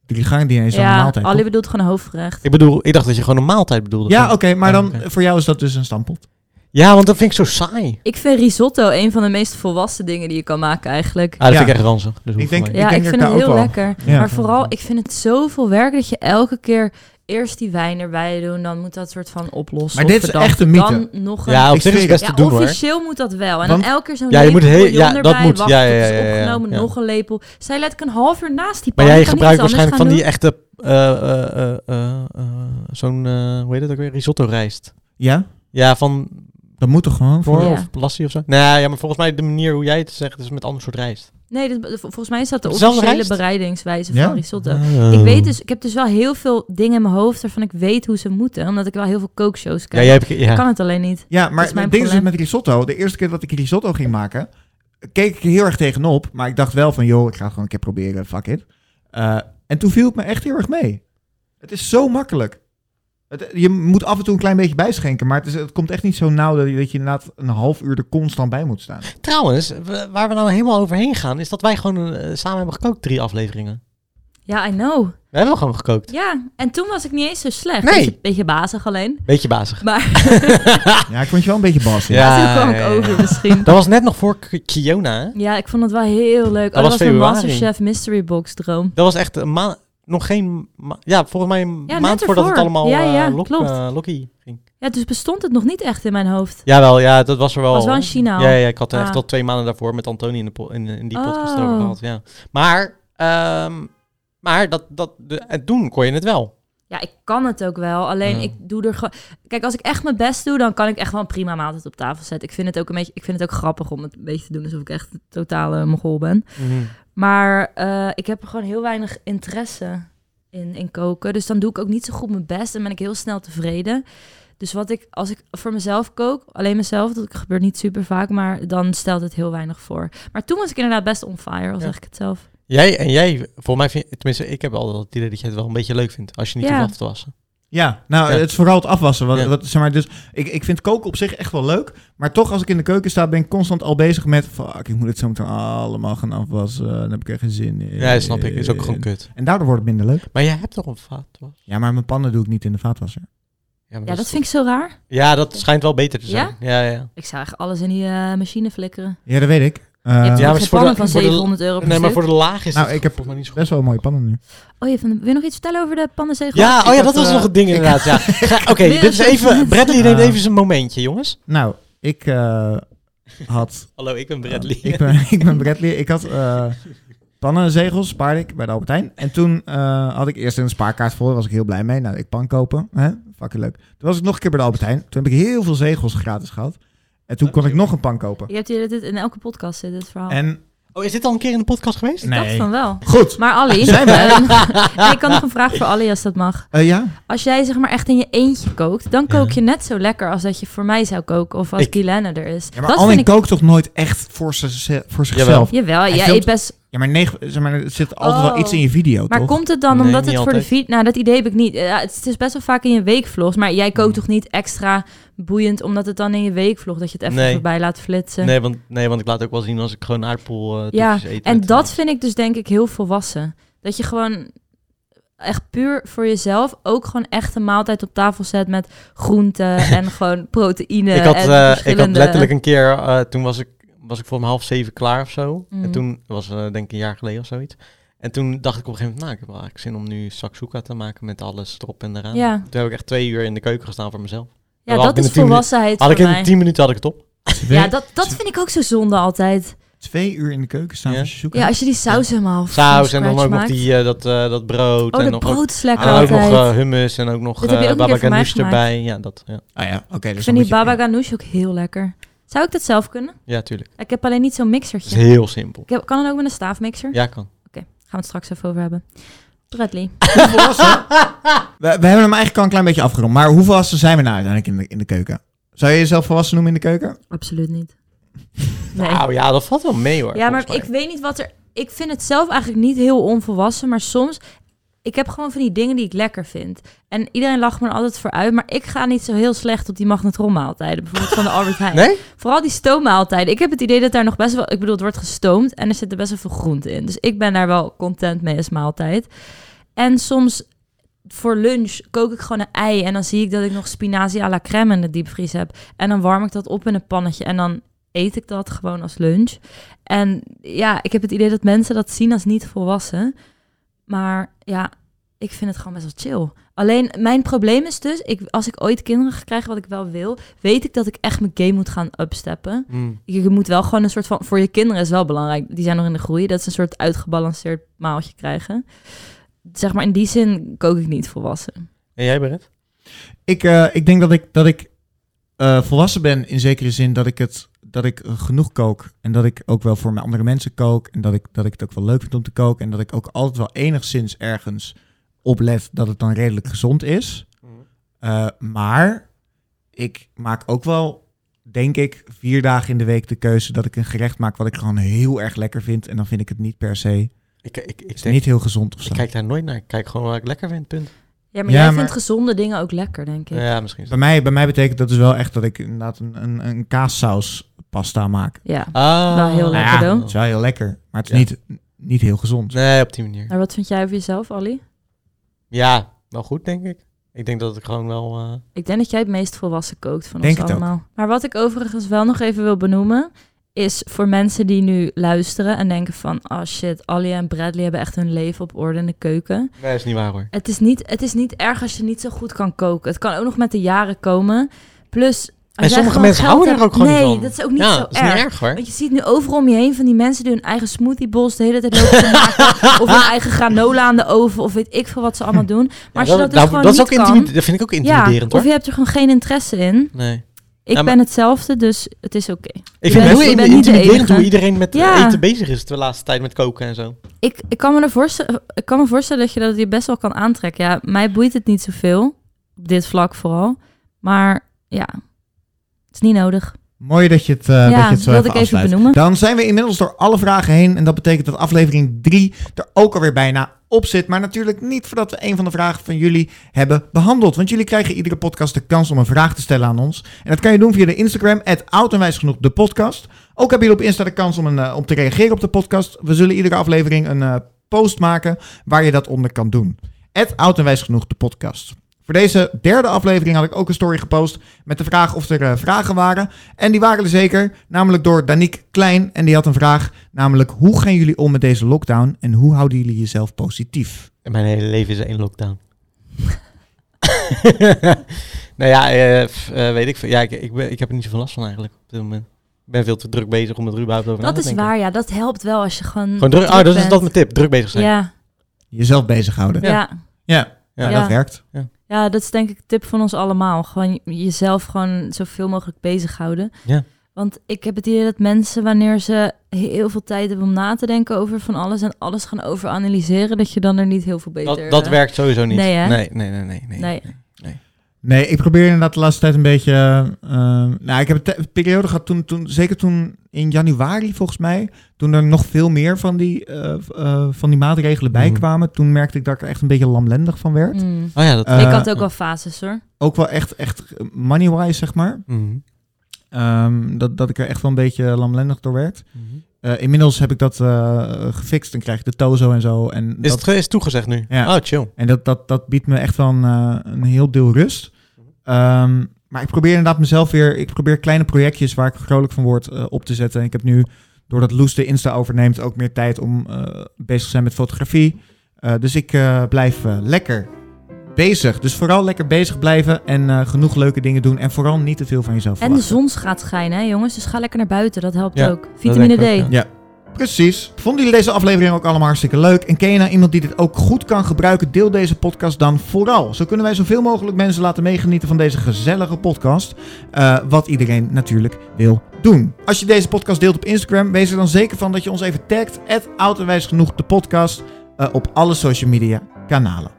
Jullie gaan niet eens aan een
ja,
maaltijd.
Ali
toch?
bedoelt gewoon hoofdgerecht.
Ik bedoel, ik dacht dat je gewoon een maaltijd bedoelde.
Ja, oké,
Gewoon-
maar dan
Ja, oké.
voor jou is dat dus een stampot.
Ja, want dat vind ik zo saai. Ah,
Ik vind risotto een van de meest volwassen dingen die je kan maken eigenlijk.
Ah, dat
Ja.
vind ik echt ranzig. Dus hoeft
Ik denk-
voor mij
Ja,
ken
ik
er
vind
daar
het
ook
heel
wel.
lekker.
Ja.
Maar vooral, ik vind het zoveel werk dat je elke keer eerst die wijn erbij doen. Dan moet dat soort van oplossen.
Maar dit
of
is
dan-
echt een mythe.
Dan nog een...
niet. Ja, op
Ik
zich is
zweer het.
het best te doen hoor.
officieel moet dat wel. En
Want-
dan elke keer zo'n
Ja, je
lepel
moet heel-
bouillon
ja, dat
erbij.
moet.
Wacht,
Ja,
het
ja,
is
ja, ja, ja.
opgenomen,
Ja.
nog een lepel. Zij let ik een half uur naast die pan.
Maar jij
Ik kan niet
gebruikt
iets anders
waarschijnlijk van
gaan
die echte, eh, eh, eh, eh, eh, zo'n, eh, hoe heet het ook weer, risotto rijst.
Ja,
Ja, van
dat moet toch gewoon?
Noor
Ja.
of Lassie of zo. Nou ja, maar volgens mij de manier hoe jij het zegt is met ander soort rijst.
doen. Nee, dat- volgens mij is dat de
Dezelfde
officiële
rijst?
bereidingswijze
Ja?
van risotto.
Oh.
Ik weet dus, ik heb dus wel heel veel dingen in mijn hoofd waarvan ik weet hoe ze moeten. Omdat ik wel heel veel kookshows
Ja,
kijk.
jij hebt... Ja.
Ik kan het alleen niet.
Ja,
Dat
maar
is mijn
het ding is dus
probleem.
met risotto. De eerste keer dat ik risotto ging maken, keek ik er heel erg tegenop. Maar ik dacht wel van, joh, ik ga het gewoon een keer proberen, fuck it. Eh, en toen viel het me echt heel erg mee. Het is zo makkelijk. Het, je moet af en toe een klein beetje bijschenken, maar het, is, het komt echt niet zo nauw dat je, dat je inderdaad een half uur er constant bij moet staan.
Trouwens, we- waar we nou helemaal overheen gaan, is dat wij gewoon eh, samen hebben gekookt drie afleveringen.
Ja, I know.
We hebben gewoon gekookt.
Ja, en toen was ik niet eens zo slecht.
Nee.
Beetje, beetje bazig alleen.
Beetje bazig.
Maar
Ja, ik vond je wel een beetje bas.
Ah. Ja,
toen kwam
ja,
ik
ja,
over
ja.
misschien.
Dat was net nog voor K- Kiona, hè?
Ja, ik vond het wel heel leuk. Oh, dat,
Dat was
was mijn
februari.
Masterchef Mystery Box droom.
Dat was echt een maand... Nog geen... ma- ja, volgens mij een
Ja, net
maand voordat
ervoor.
het allemaal
Ja, ja,
eh, lok,
klopt.
eh, lokkie ging.
Ja, dus bestond het nog niet echt in mijn hoofd.
Jawel, ja, dat was er wel.
Was wel in China al.
Ja, ja, ik had er
Ah.
echt al twee maanden daarvoor met Antoni in, de po- in, in die
Oh.
podcast over gehad. Ja. Maar, ehm, maar dat, dat, de, en toen kon je het wel.
Ja, ik kan het ook wel. Alleen
Ja.
ik doe er gewoon... Kijk, als ik echt mijn best doe, dan kan ik echt wel een prima maaltijd op tafel zetten. Ik vind het ook een beetje... Ik vind het ook grappig om het een beetje te doen alsof ik echt een totale mogol ben.
Mhm.
Maar eh, ik heb er gewoon heel weinig interesse in, in koken. Dus dan doe ik ook niet zo goed mijn best en ben ik heel snel tevreden. Dus wat ik, als ik voor mezelf kook, alleen mezelf, dat gebeurt niet super vaak, maar dan stelt het heel weinig voor. Maar toen was ik inderdaad best on fire, al
Ja.
zeg ik het zelf.
Jij en jij, voor mij vind tenminste, ik heb altijd het idee dat je het wel een beetje leuk vindt als je niet
Ja.
hoeft af te wassen.
Ja, nou,
Ja.
het is vooral het afwassen. Wat,
Ja.
wat, zeg maar, dus ik, ik vind koken op zich echt wel leuk. Maar toch, als ik in de keuken sta, ben ik constant al bezig met... Fuck, ik moet het zo meteen allemaal gaan afwassen. Dan heb ik er geen zin in.
Ja, dat snap ik. Is ook gewoon kut.
En daardoor wordt het minder leuk.
Maar jij hebt toch een vaatwas?
Ja, maar mijn pannen doe ik niet in de vaatwasser.
maar
Ja, dat
is-
vind ik zo raar.
Ja, dat schijnt wel beter te zijn.
Ja?
Ja, ja.
Ik zou eigenlijk alles in die eh, machine flikkeren.
Ja, dat weet ik. Eh,
Je hebt
ja,
ja,
maar
geen
voor de-
pannen van
voor de-
700 euro per
Nee, maar
stuk.
voor de laag is
Nou,
het
ik heb
volgens mij niet zo goed.
Best wel mooie pannen nu.
Oh, je vindt- wil je nog iets vertellen over de pannenzegel?
Ja, oh ja,
had,
dat was
eh,
nog het ding
ik-
inderdaad. Ja. Ga- Oké,
Weer
dit is
een
even.
soort-
Bradley neemt
Ah.
even zijn momentje, jongens.
Nou, ik eh, had...
Hallo, ik ben Bradley.
ik, ben, ik ben Bradley. Ik had eh pannenzegels, spaarde ik bij de Albert Heijn. En toen eh, had ik eerst een spaarkaart voor. Daar was ik heel blij mee. Nou, ik pan kopen. Hè? Fucking leuk. Toen was ik nog een keer bij de Albert Heijn. Toen heb ik heel veel zegels gratis gehad. En toen kon ik nog een pan kopen.
Je hebt hier dit in elke podcast zit dit verhaal.
En
Oh, is dit al een keer in de podcast geweest?
ik dacht van wel.
goed.
Maar Ali,
Zijn we?
ehm, nee, ik had nog een vraag voor Ali als dat mag.
Eh, ja?
Als jij zeg maar echt in je eentje kookt, dan kook je net zo lekker als dat je voor mij zou koken of als
Ik-
Guilaine er is.
ja, maar
dat vind
Alwin
ik...
kookt toch nooit echt voor, zichzelf- voor zichzelf?
Jawel, jij
filmt-
eet best...
Ja, maar, negen, zeg maar er zit altijd wel
Oh.
iets in je video,
Maar
toch?
komt het dan
Nee,
omdat
niet
het voor de
altijd.
feed... Nou, dat idee heb ik niet. Ja, het is best wel vaak in je weekvlogs, maar jij
Hmm.
kookt toch niet extra boeiend omdat het dan in je weekvlog dat je het even
Nee.
voorbij laat flitsen?
Nee want, nee, want ik laat ook wel zien als ik gewoon aardappel eh
Ja,
toetjes eet.
en
met,
dat
eh,
vind ik dus denk ik heel volwassen. Dat je gewoon echt puur voor jezelf ook gewoon echt een maaltijd op tafel zet met groenten en gewoon proteïne.
ik, had,
en
eh, ik had
verschillende-
letterlijk een keer, eh, toen was ik, was ik voor om half zeven klaar of zo. En
Mhm.
toen, dat was eh, denk ik een jaar geleden of zoiets. En toen dacht ik op een gegeven moment, nou, ik heb wel eigenlijk zin om nu saksuka te maken met alles erop en eraan.
Ja.
Toen heb ik echt twee uur in de keuken gestaan voor mezelf.
Ja,
had ik
dat
in
is
de tien
volwassenheid
Had ik
voor
in
mij.
tien minuten had ik het op.
Twee,
Ja, dat, dat vind ik ook zo zonde altijd.
twee uur in de keuken staan
Ja.
voor zoeken.
Ja, als je die saus helemaal van
Saus en dan
scratch
ook nog
maakt.
die, eh, dat, eh, dat brood.
Oh,
en
de
nog, ook,
brood is lekker
en ook nog
altijd.
eh, hummus en ook nog
Dit heb je
eh,
ook een
baba
keer voor mij
ganoush
gemaakt.
erbij. Ja, dat, ja.
Ah ja, oké. dus
ik
dan
vind die
moet je-
baba ganoush ook heel lekker. Zou ik dat zelf kunnen?
ja, tuurlijk.
Ik heb alleen niet zo'n
Het
mixertje.
is heel simpel.
Ik heb, kan het ook met een staafmixer?
Ja, kan.
Gaan we het straks even over hebben. Bradley.
We, we hebben hem eigenlijk al een klein beetje afgerond. Maar hoe volwassen zijn we nou uiteindelijk in de, in de keuken? Zou je jezelf volwassen noemen in de keuken?
Absoluut niet. Nee.
Nou ja, dat valt wel mee hoor.
Ja, maar
volgens
ik weet niet wat er. Ik vind het zelf eigenlijk niet heel onvolwassen, maar soms. Ik heb gewoon van die dingen die ik lekker vind. En iedereen lacht me er altijd voor uit. Maar ik ga niet zo heel slecht op die magnetronmaaltijden. Bijvoorbeeld van de Albert Heijn.
mij. Nee?
Vooral die stoommaaltijden. Ik heb het idee dat daar nog best wel... Ik bedoel, het wordt gestoomd en er zitten best wel veel groenten in. Dus ik ben daar wel content mee als maaltijd. En soms voor lunch kook ik gewoon een ei. En dan zie ik dat ik nog spinazie à la crème in de diepvries heb. En dan warm ik dat op in een pannetje. En dan eet ik dat gewoon als lunch. En ja, ik heb het idee dat mensen dat zien als niet volwassen. Maar ja, ik vind het gewoon best wel chill. Alleen mijn probleem is dus, ik, als ik ooit kinderen ga krijgen, wat ik wel wil, weet ik dat ik echt mijn game moet gaan upsteppen.
Mm.
Je moet wel gewoon een soort van, voor je kinderen is wel belangrijk, die zijn nog in de groei, dat ze een soort uitgebalanceerd maaltje krijgen. Zeg maar in die zin kook ik niet volwassen.
En jij, Brett?
Ik, eh, ik denk dat ik, dat ik eh, volwassen ben in zekere zin dat ik het dat ik eh, genoeg kook en dat ik ook wel voor mijn andere mensen kook en dat ik, dat ik het ook wel leuk vind om te koken en dat ik ook altijd wel enigszins ergens oplet dat het dan redelijk gezond is. Eh, maar ik maak ook wel, denk ik, vier dagen in de week de keuze dat ik een gerecht maak wat ik gewoon heel erg lekker vind en dan vind ik het niet per se
Ik, ik, ik,
is niet heel gezond of
ik
zo.
kijk daar nooit naar. Ik kijk gewoon waar ik lekker vind, punt.
Ja, maar
Ja,
jij
maar-
vindt gezonde dingen ook lekker, denk ik. Ja,
Ja, misschien. is
Bij
dat-
mij, bij mij betekent dat dus wel echt dat ik inderdaad een, een, een kaassaus pasta maak.
Ah.
Wel heel
Nou
lekker,
ja,
dan.
het is wel heel lekker, maar het is
Ja.
niet, niet heel gezond.
Nee, op die manier.
Maar wat vind jij over jezelf, Ali?
Ja, wel goed, denk ik. Ik denk dat ik gewoon wel... eh,
Ik denk dat jij het meest volwassen kookt van
Denk
ons
het ook.
allemaal. Maar wat ik overigens wel nog even wil benoemen, is voor mensen die nu luisteren en denken van, oh shit, Ali en Bradley hebben echt hun leven op orde in de keuken.
Nee, is niet waar hoor.
Het is niet, het is niet erg als je niet zo goed kan koken. Het kan ook nog met de jaren komen. Plus. als
En
jij
sommige
gewoon
mensen
geld
houden er
hebt-
ook gewoon
nee,
niet van.
dat is ook niet
ja,
zo
dat is
erg.
niet erg hoor.
Want je ziet nu overal om je heen van die mensen die hun eigen smoothiebowls de hele tijd lopen te maken. Of hun eigen granola aan de oven. Of weet ik veel wat ze allemaal doen. Maar als je
Ja,
dat, dus
nou,
gewoon
dat is
niet
ook
kan,
intimide- Dat vind ik ook
ja,
intimiderend
of
hoor.
je hebt er gewoon geen interesse in.
Nee.
Ik
Ja, maar-
ben hetzelfde, dus het is oké.
Ik
bent-
vind het
je
heel
bent
in-
niet de
intimiderend hoe
enige.
iedereen met
Ja.
eten bezig is de laatste tijd met koken en zo.
Ik, ik, kan me er voorstellen, ik kan me voorstellen dat je dat je best wel kan aantrekken. Ja, mij boeit het niet zoveel. Op dit vlak vooral. Maar ja, het is niet nodig.
Mooi dat je het, eh dat je het zo
wilde
even
ik even
afsluit.
benoemen.
Dan zijn we inmiddels door alle vragen heen. En dat betekent dat aflevering 3 er ook alweer bijna op zit. Maar natuurlijk niet voordat we een van de vragen van jullie hebben behandeld. Want jullie krijgen iedere podcast de kans om een vraag te stellen aan ons. En dat kan je doen via de Instagram, at oud en wijs genoeg de podcast. Ook hebben jullie op Insta de kans om, een, eh, om te reageren op de podcast. We zullen iedere aflevering een eh, post maken waar je dat onder kan doen. Het oud en wijs genoeg de podcast. Voor deze derde aflevering had ik ook een story gepost met de vraag of er eh, vragen waren. En die waren er zeker, namelijk door Danique Klein. En die had een vraag, namelijk hoe gaan jullie om met deze lockdown en hoe houden jullie jezelf positief?
En mijn hele leven is één lockdown. nou ja, eh, f- eh, weet ik veel. Ja, ik, ik, ben, ik heb er niet zoveel last van eigenlijk op dit moment. Ik ben veel te druk bezig om het er überhaupt over na
Dat
te
is
denken.
waar, ja. Dat helpt wel als je gewoon.
Gewoon druk, oh, dat is
bent.
dat mijn tip. Druk bezig zijn.
Ja,
Jezelf bezighouden.
ja. ja.
Ja,
Ja.
dat werkt.
dat is denk ik de tip van ons allemaal. Gewoon je- jezelf gewoon zoveel mogelijk bezighouden.
Ja.
Want ik heb het idee dat mensen, wanneer ze heel veel tijd hebben om na te denken over van alles en alles gaan overanalyseren, dat je dan er niet heel veel beter...
Dat, dat
eh,
werkt sowieso niet.
Nee, hè?
nee, nee, nee, nee, nee.
Nee.
Nee, ik probeer inderdaad de laatste tijd een beetje... eh, nou, ik heb een te- periode gehad, toen, toen, zeker toen in januari volgens mij, toen er nog veel meer van die, eh, v- eh, van die maatregelen bij
Mhm.
kwamen, toen merkte ik dat ik er echt een beetje lamlendig van werd.
Mm.
Oh ja, dat...
Eh,
ik had ook wel fases hoor.
ook wel echt, echt money-wise, zeg maar.
Mhm.
Ehm, dat, dat ik er echt wel een beetje lamlendig door werd.
Mhm.
Eh, inmiddels heb ik dat eh, gefixt en krijg ik de tozo en zo. En,
Is
dat,
het ge- is toegezegd nu?
Ja.
Oh, chill.
en dat, dat, dat biedt me echt wel een, eh, een heel deel rust.
Mhm.
Ehm, maar ik probeer inderdaad mezelf weer... Ik probeer kleine projectjes waar ik vrolijk van word eh, op te zetten. En ik heb nu, doordat Loes de Insta overneemt... ook meer tijd om eh, bezig te zijn met fotografie. Eh, dus ik eh, blijf eh, lekker bezig. Dus vooral lekker bezig blijven en eh, genoeg leuke dingen doen. En vooral niet te veel van jezelf
En de
verwachten.
zon gaat schijnen, hè, jongens. Dus ga lekker naar buiten. Dat helpt
Ja,
ook. Vitamine D.
denk ik ook,
Precies. Vonden jullie deze aflevering ook allemaal hartstikke leuk? En ken je nou iemand die dit ook goed kan gebruiken? Deel deze podcast dan vooral. Zo kunnen wij zoveel mogelijk mensen laten meegenieten van deze gezellige podcast. eh, wat iedereen natuurlijk wil doen. Als je deze podcast deelt op Instagram, wees er dan zeker van dat je ons even tagt. Oud en wijs genoeg de podcast eh, op alle social media kanalen.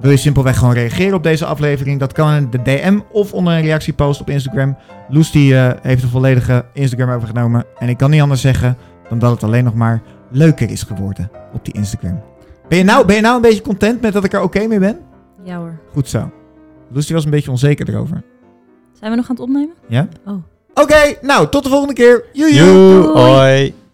Wil je simpelweg gewoon reageren op deze aflevering? Dat kan in de DM of onder een reactiepost op Instagram. Loes die, eh, heeft de volledige Instagram overgenomen. En ik kan niet anders zeggen dan dat het alleen nog maar leuker is geworden op die Instagram. Ben je nou, ben je nou een beetje content met dat ik er oké mee ben?
Ja hoor.
Goed zo. Loes die was een beetje onzeker erover.
Zijn we nog aan het opnemen?
Ja?
Oh.
Oké, nou, tot de volgende keer. Joejoe.
Joe,
Doei.
hoi.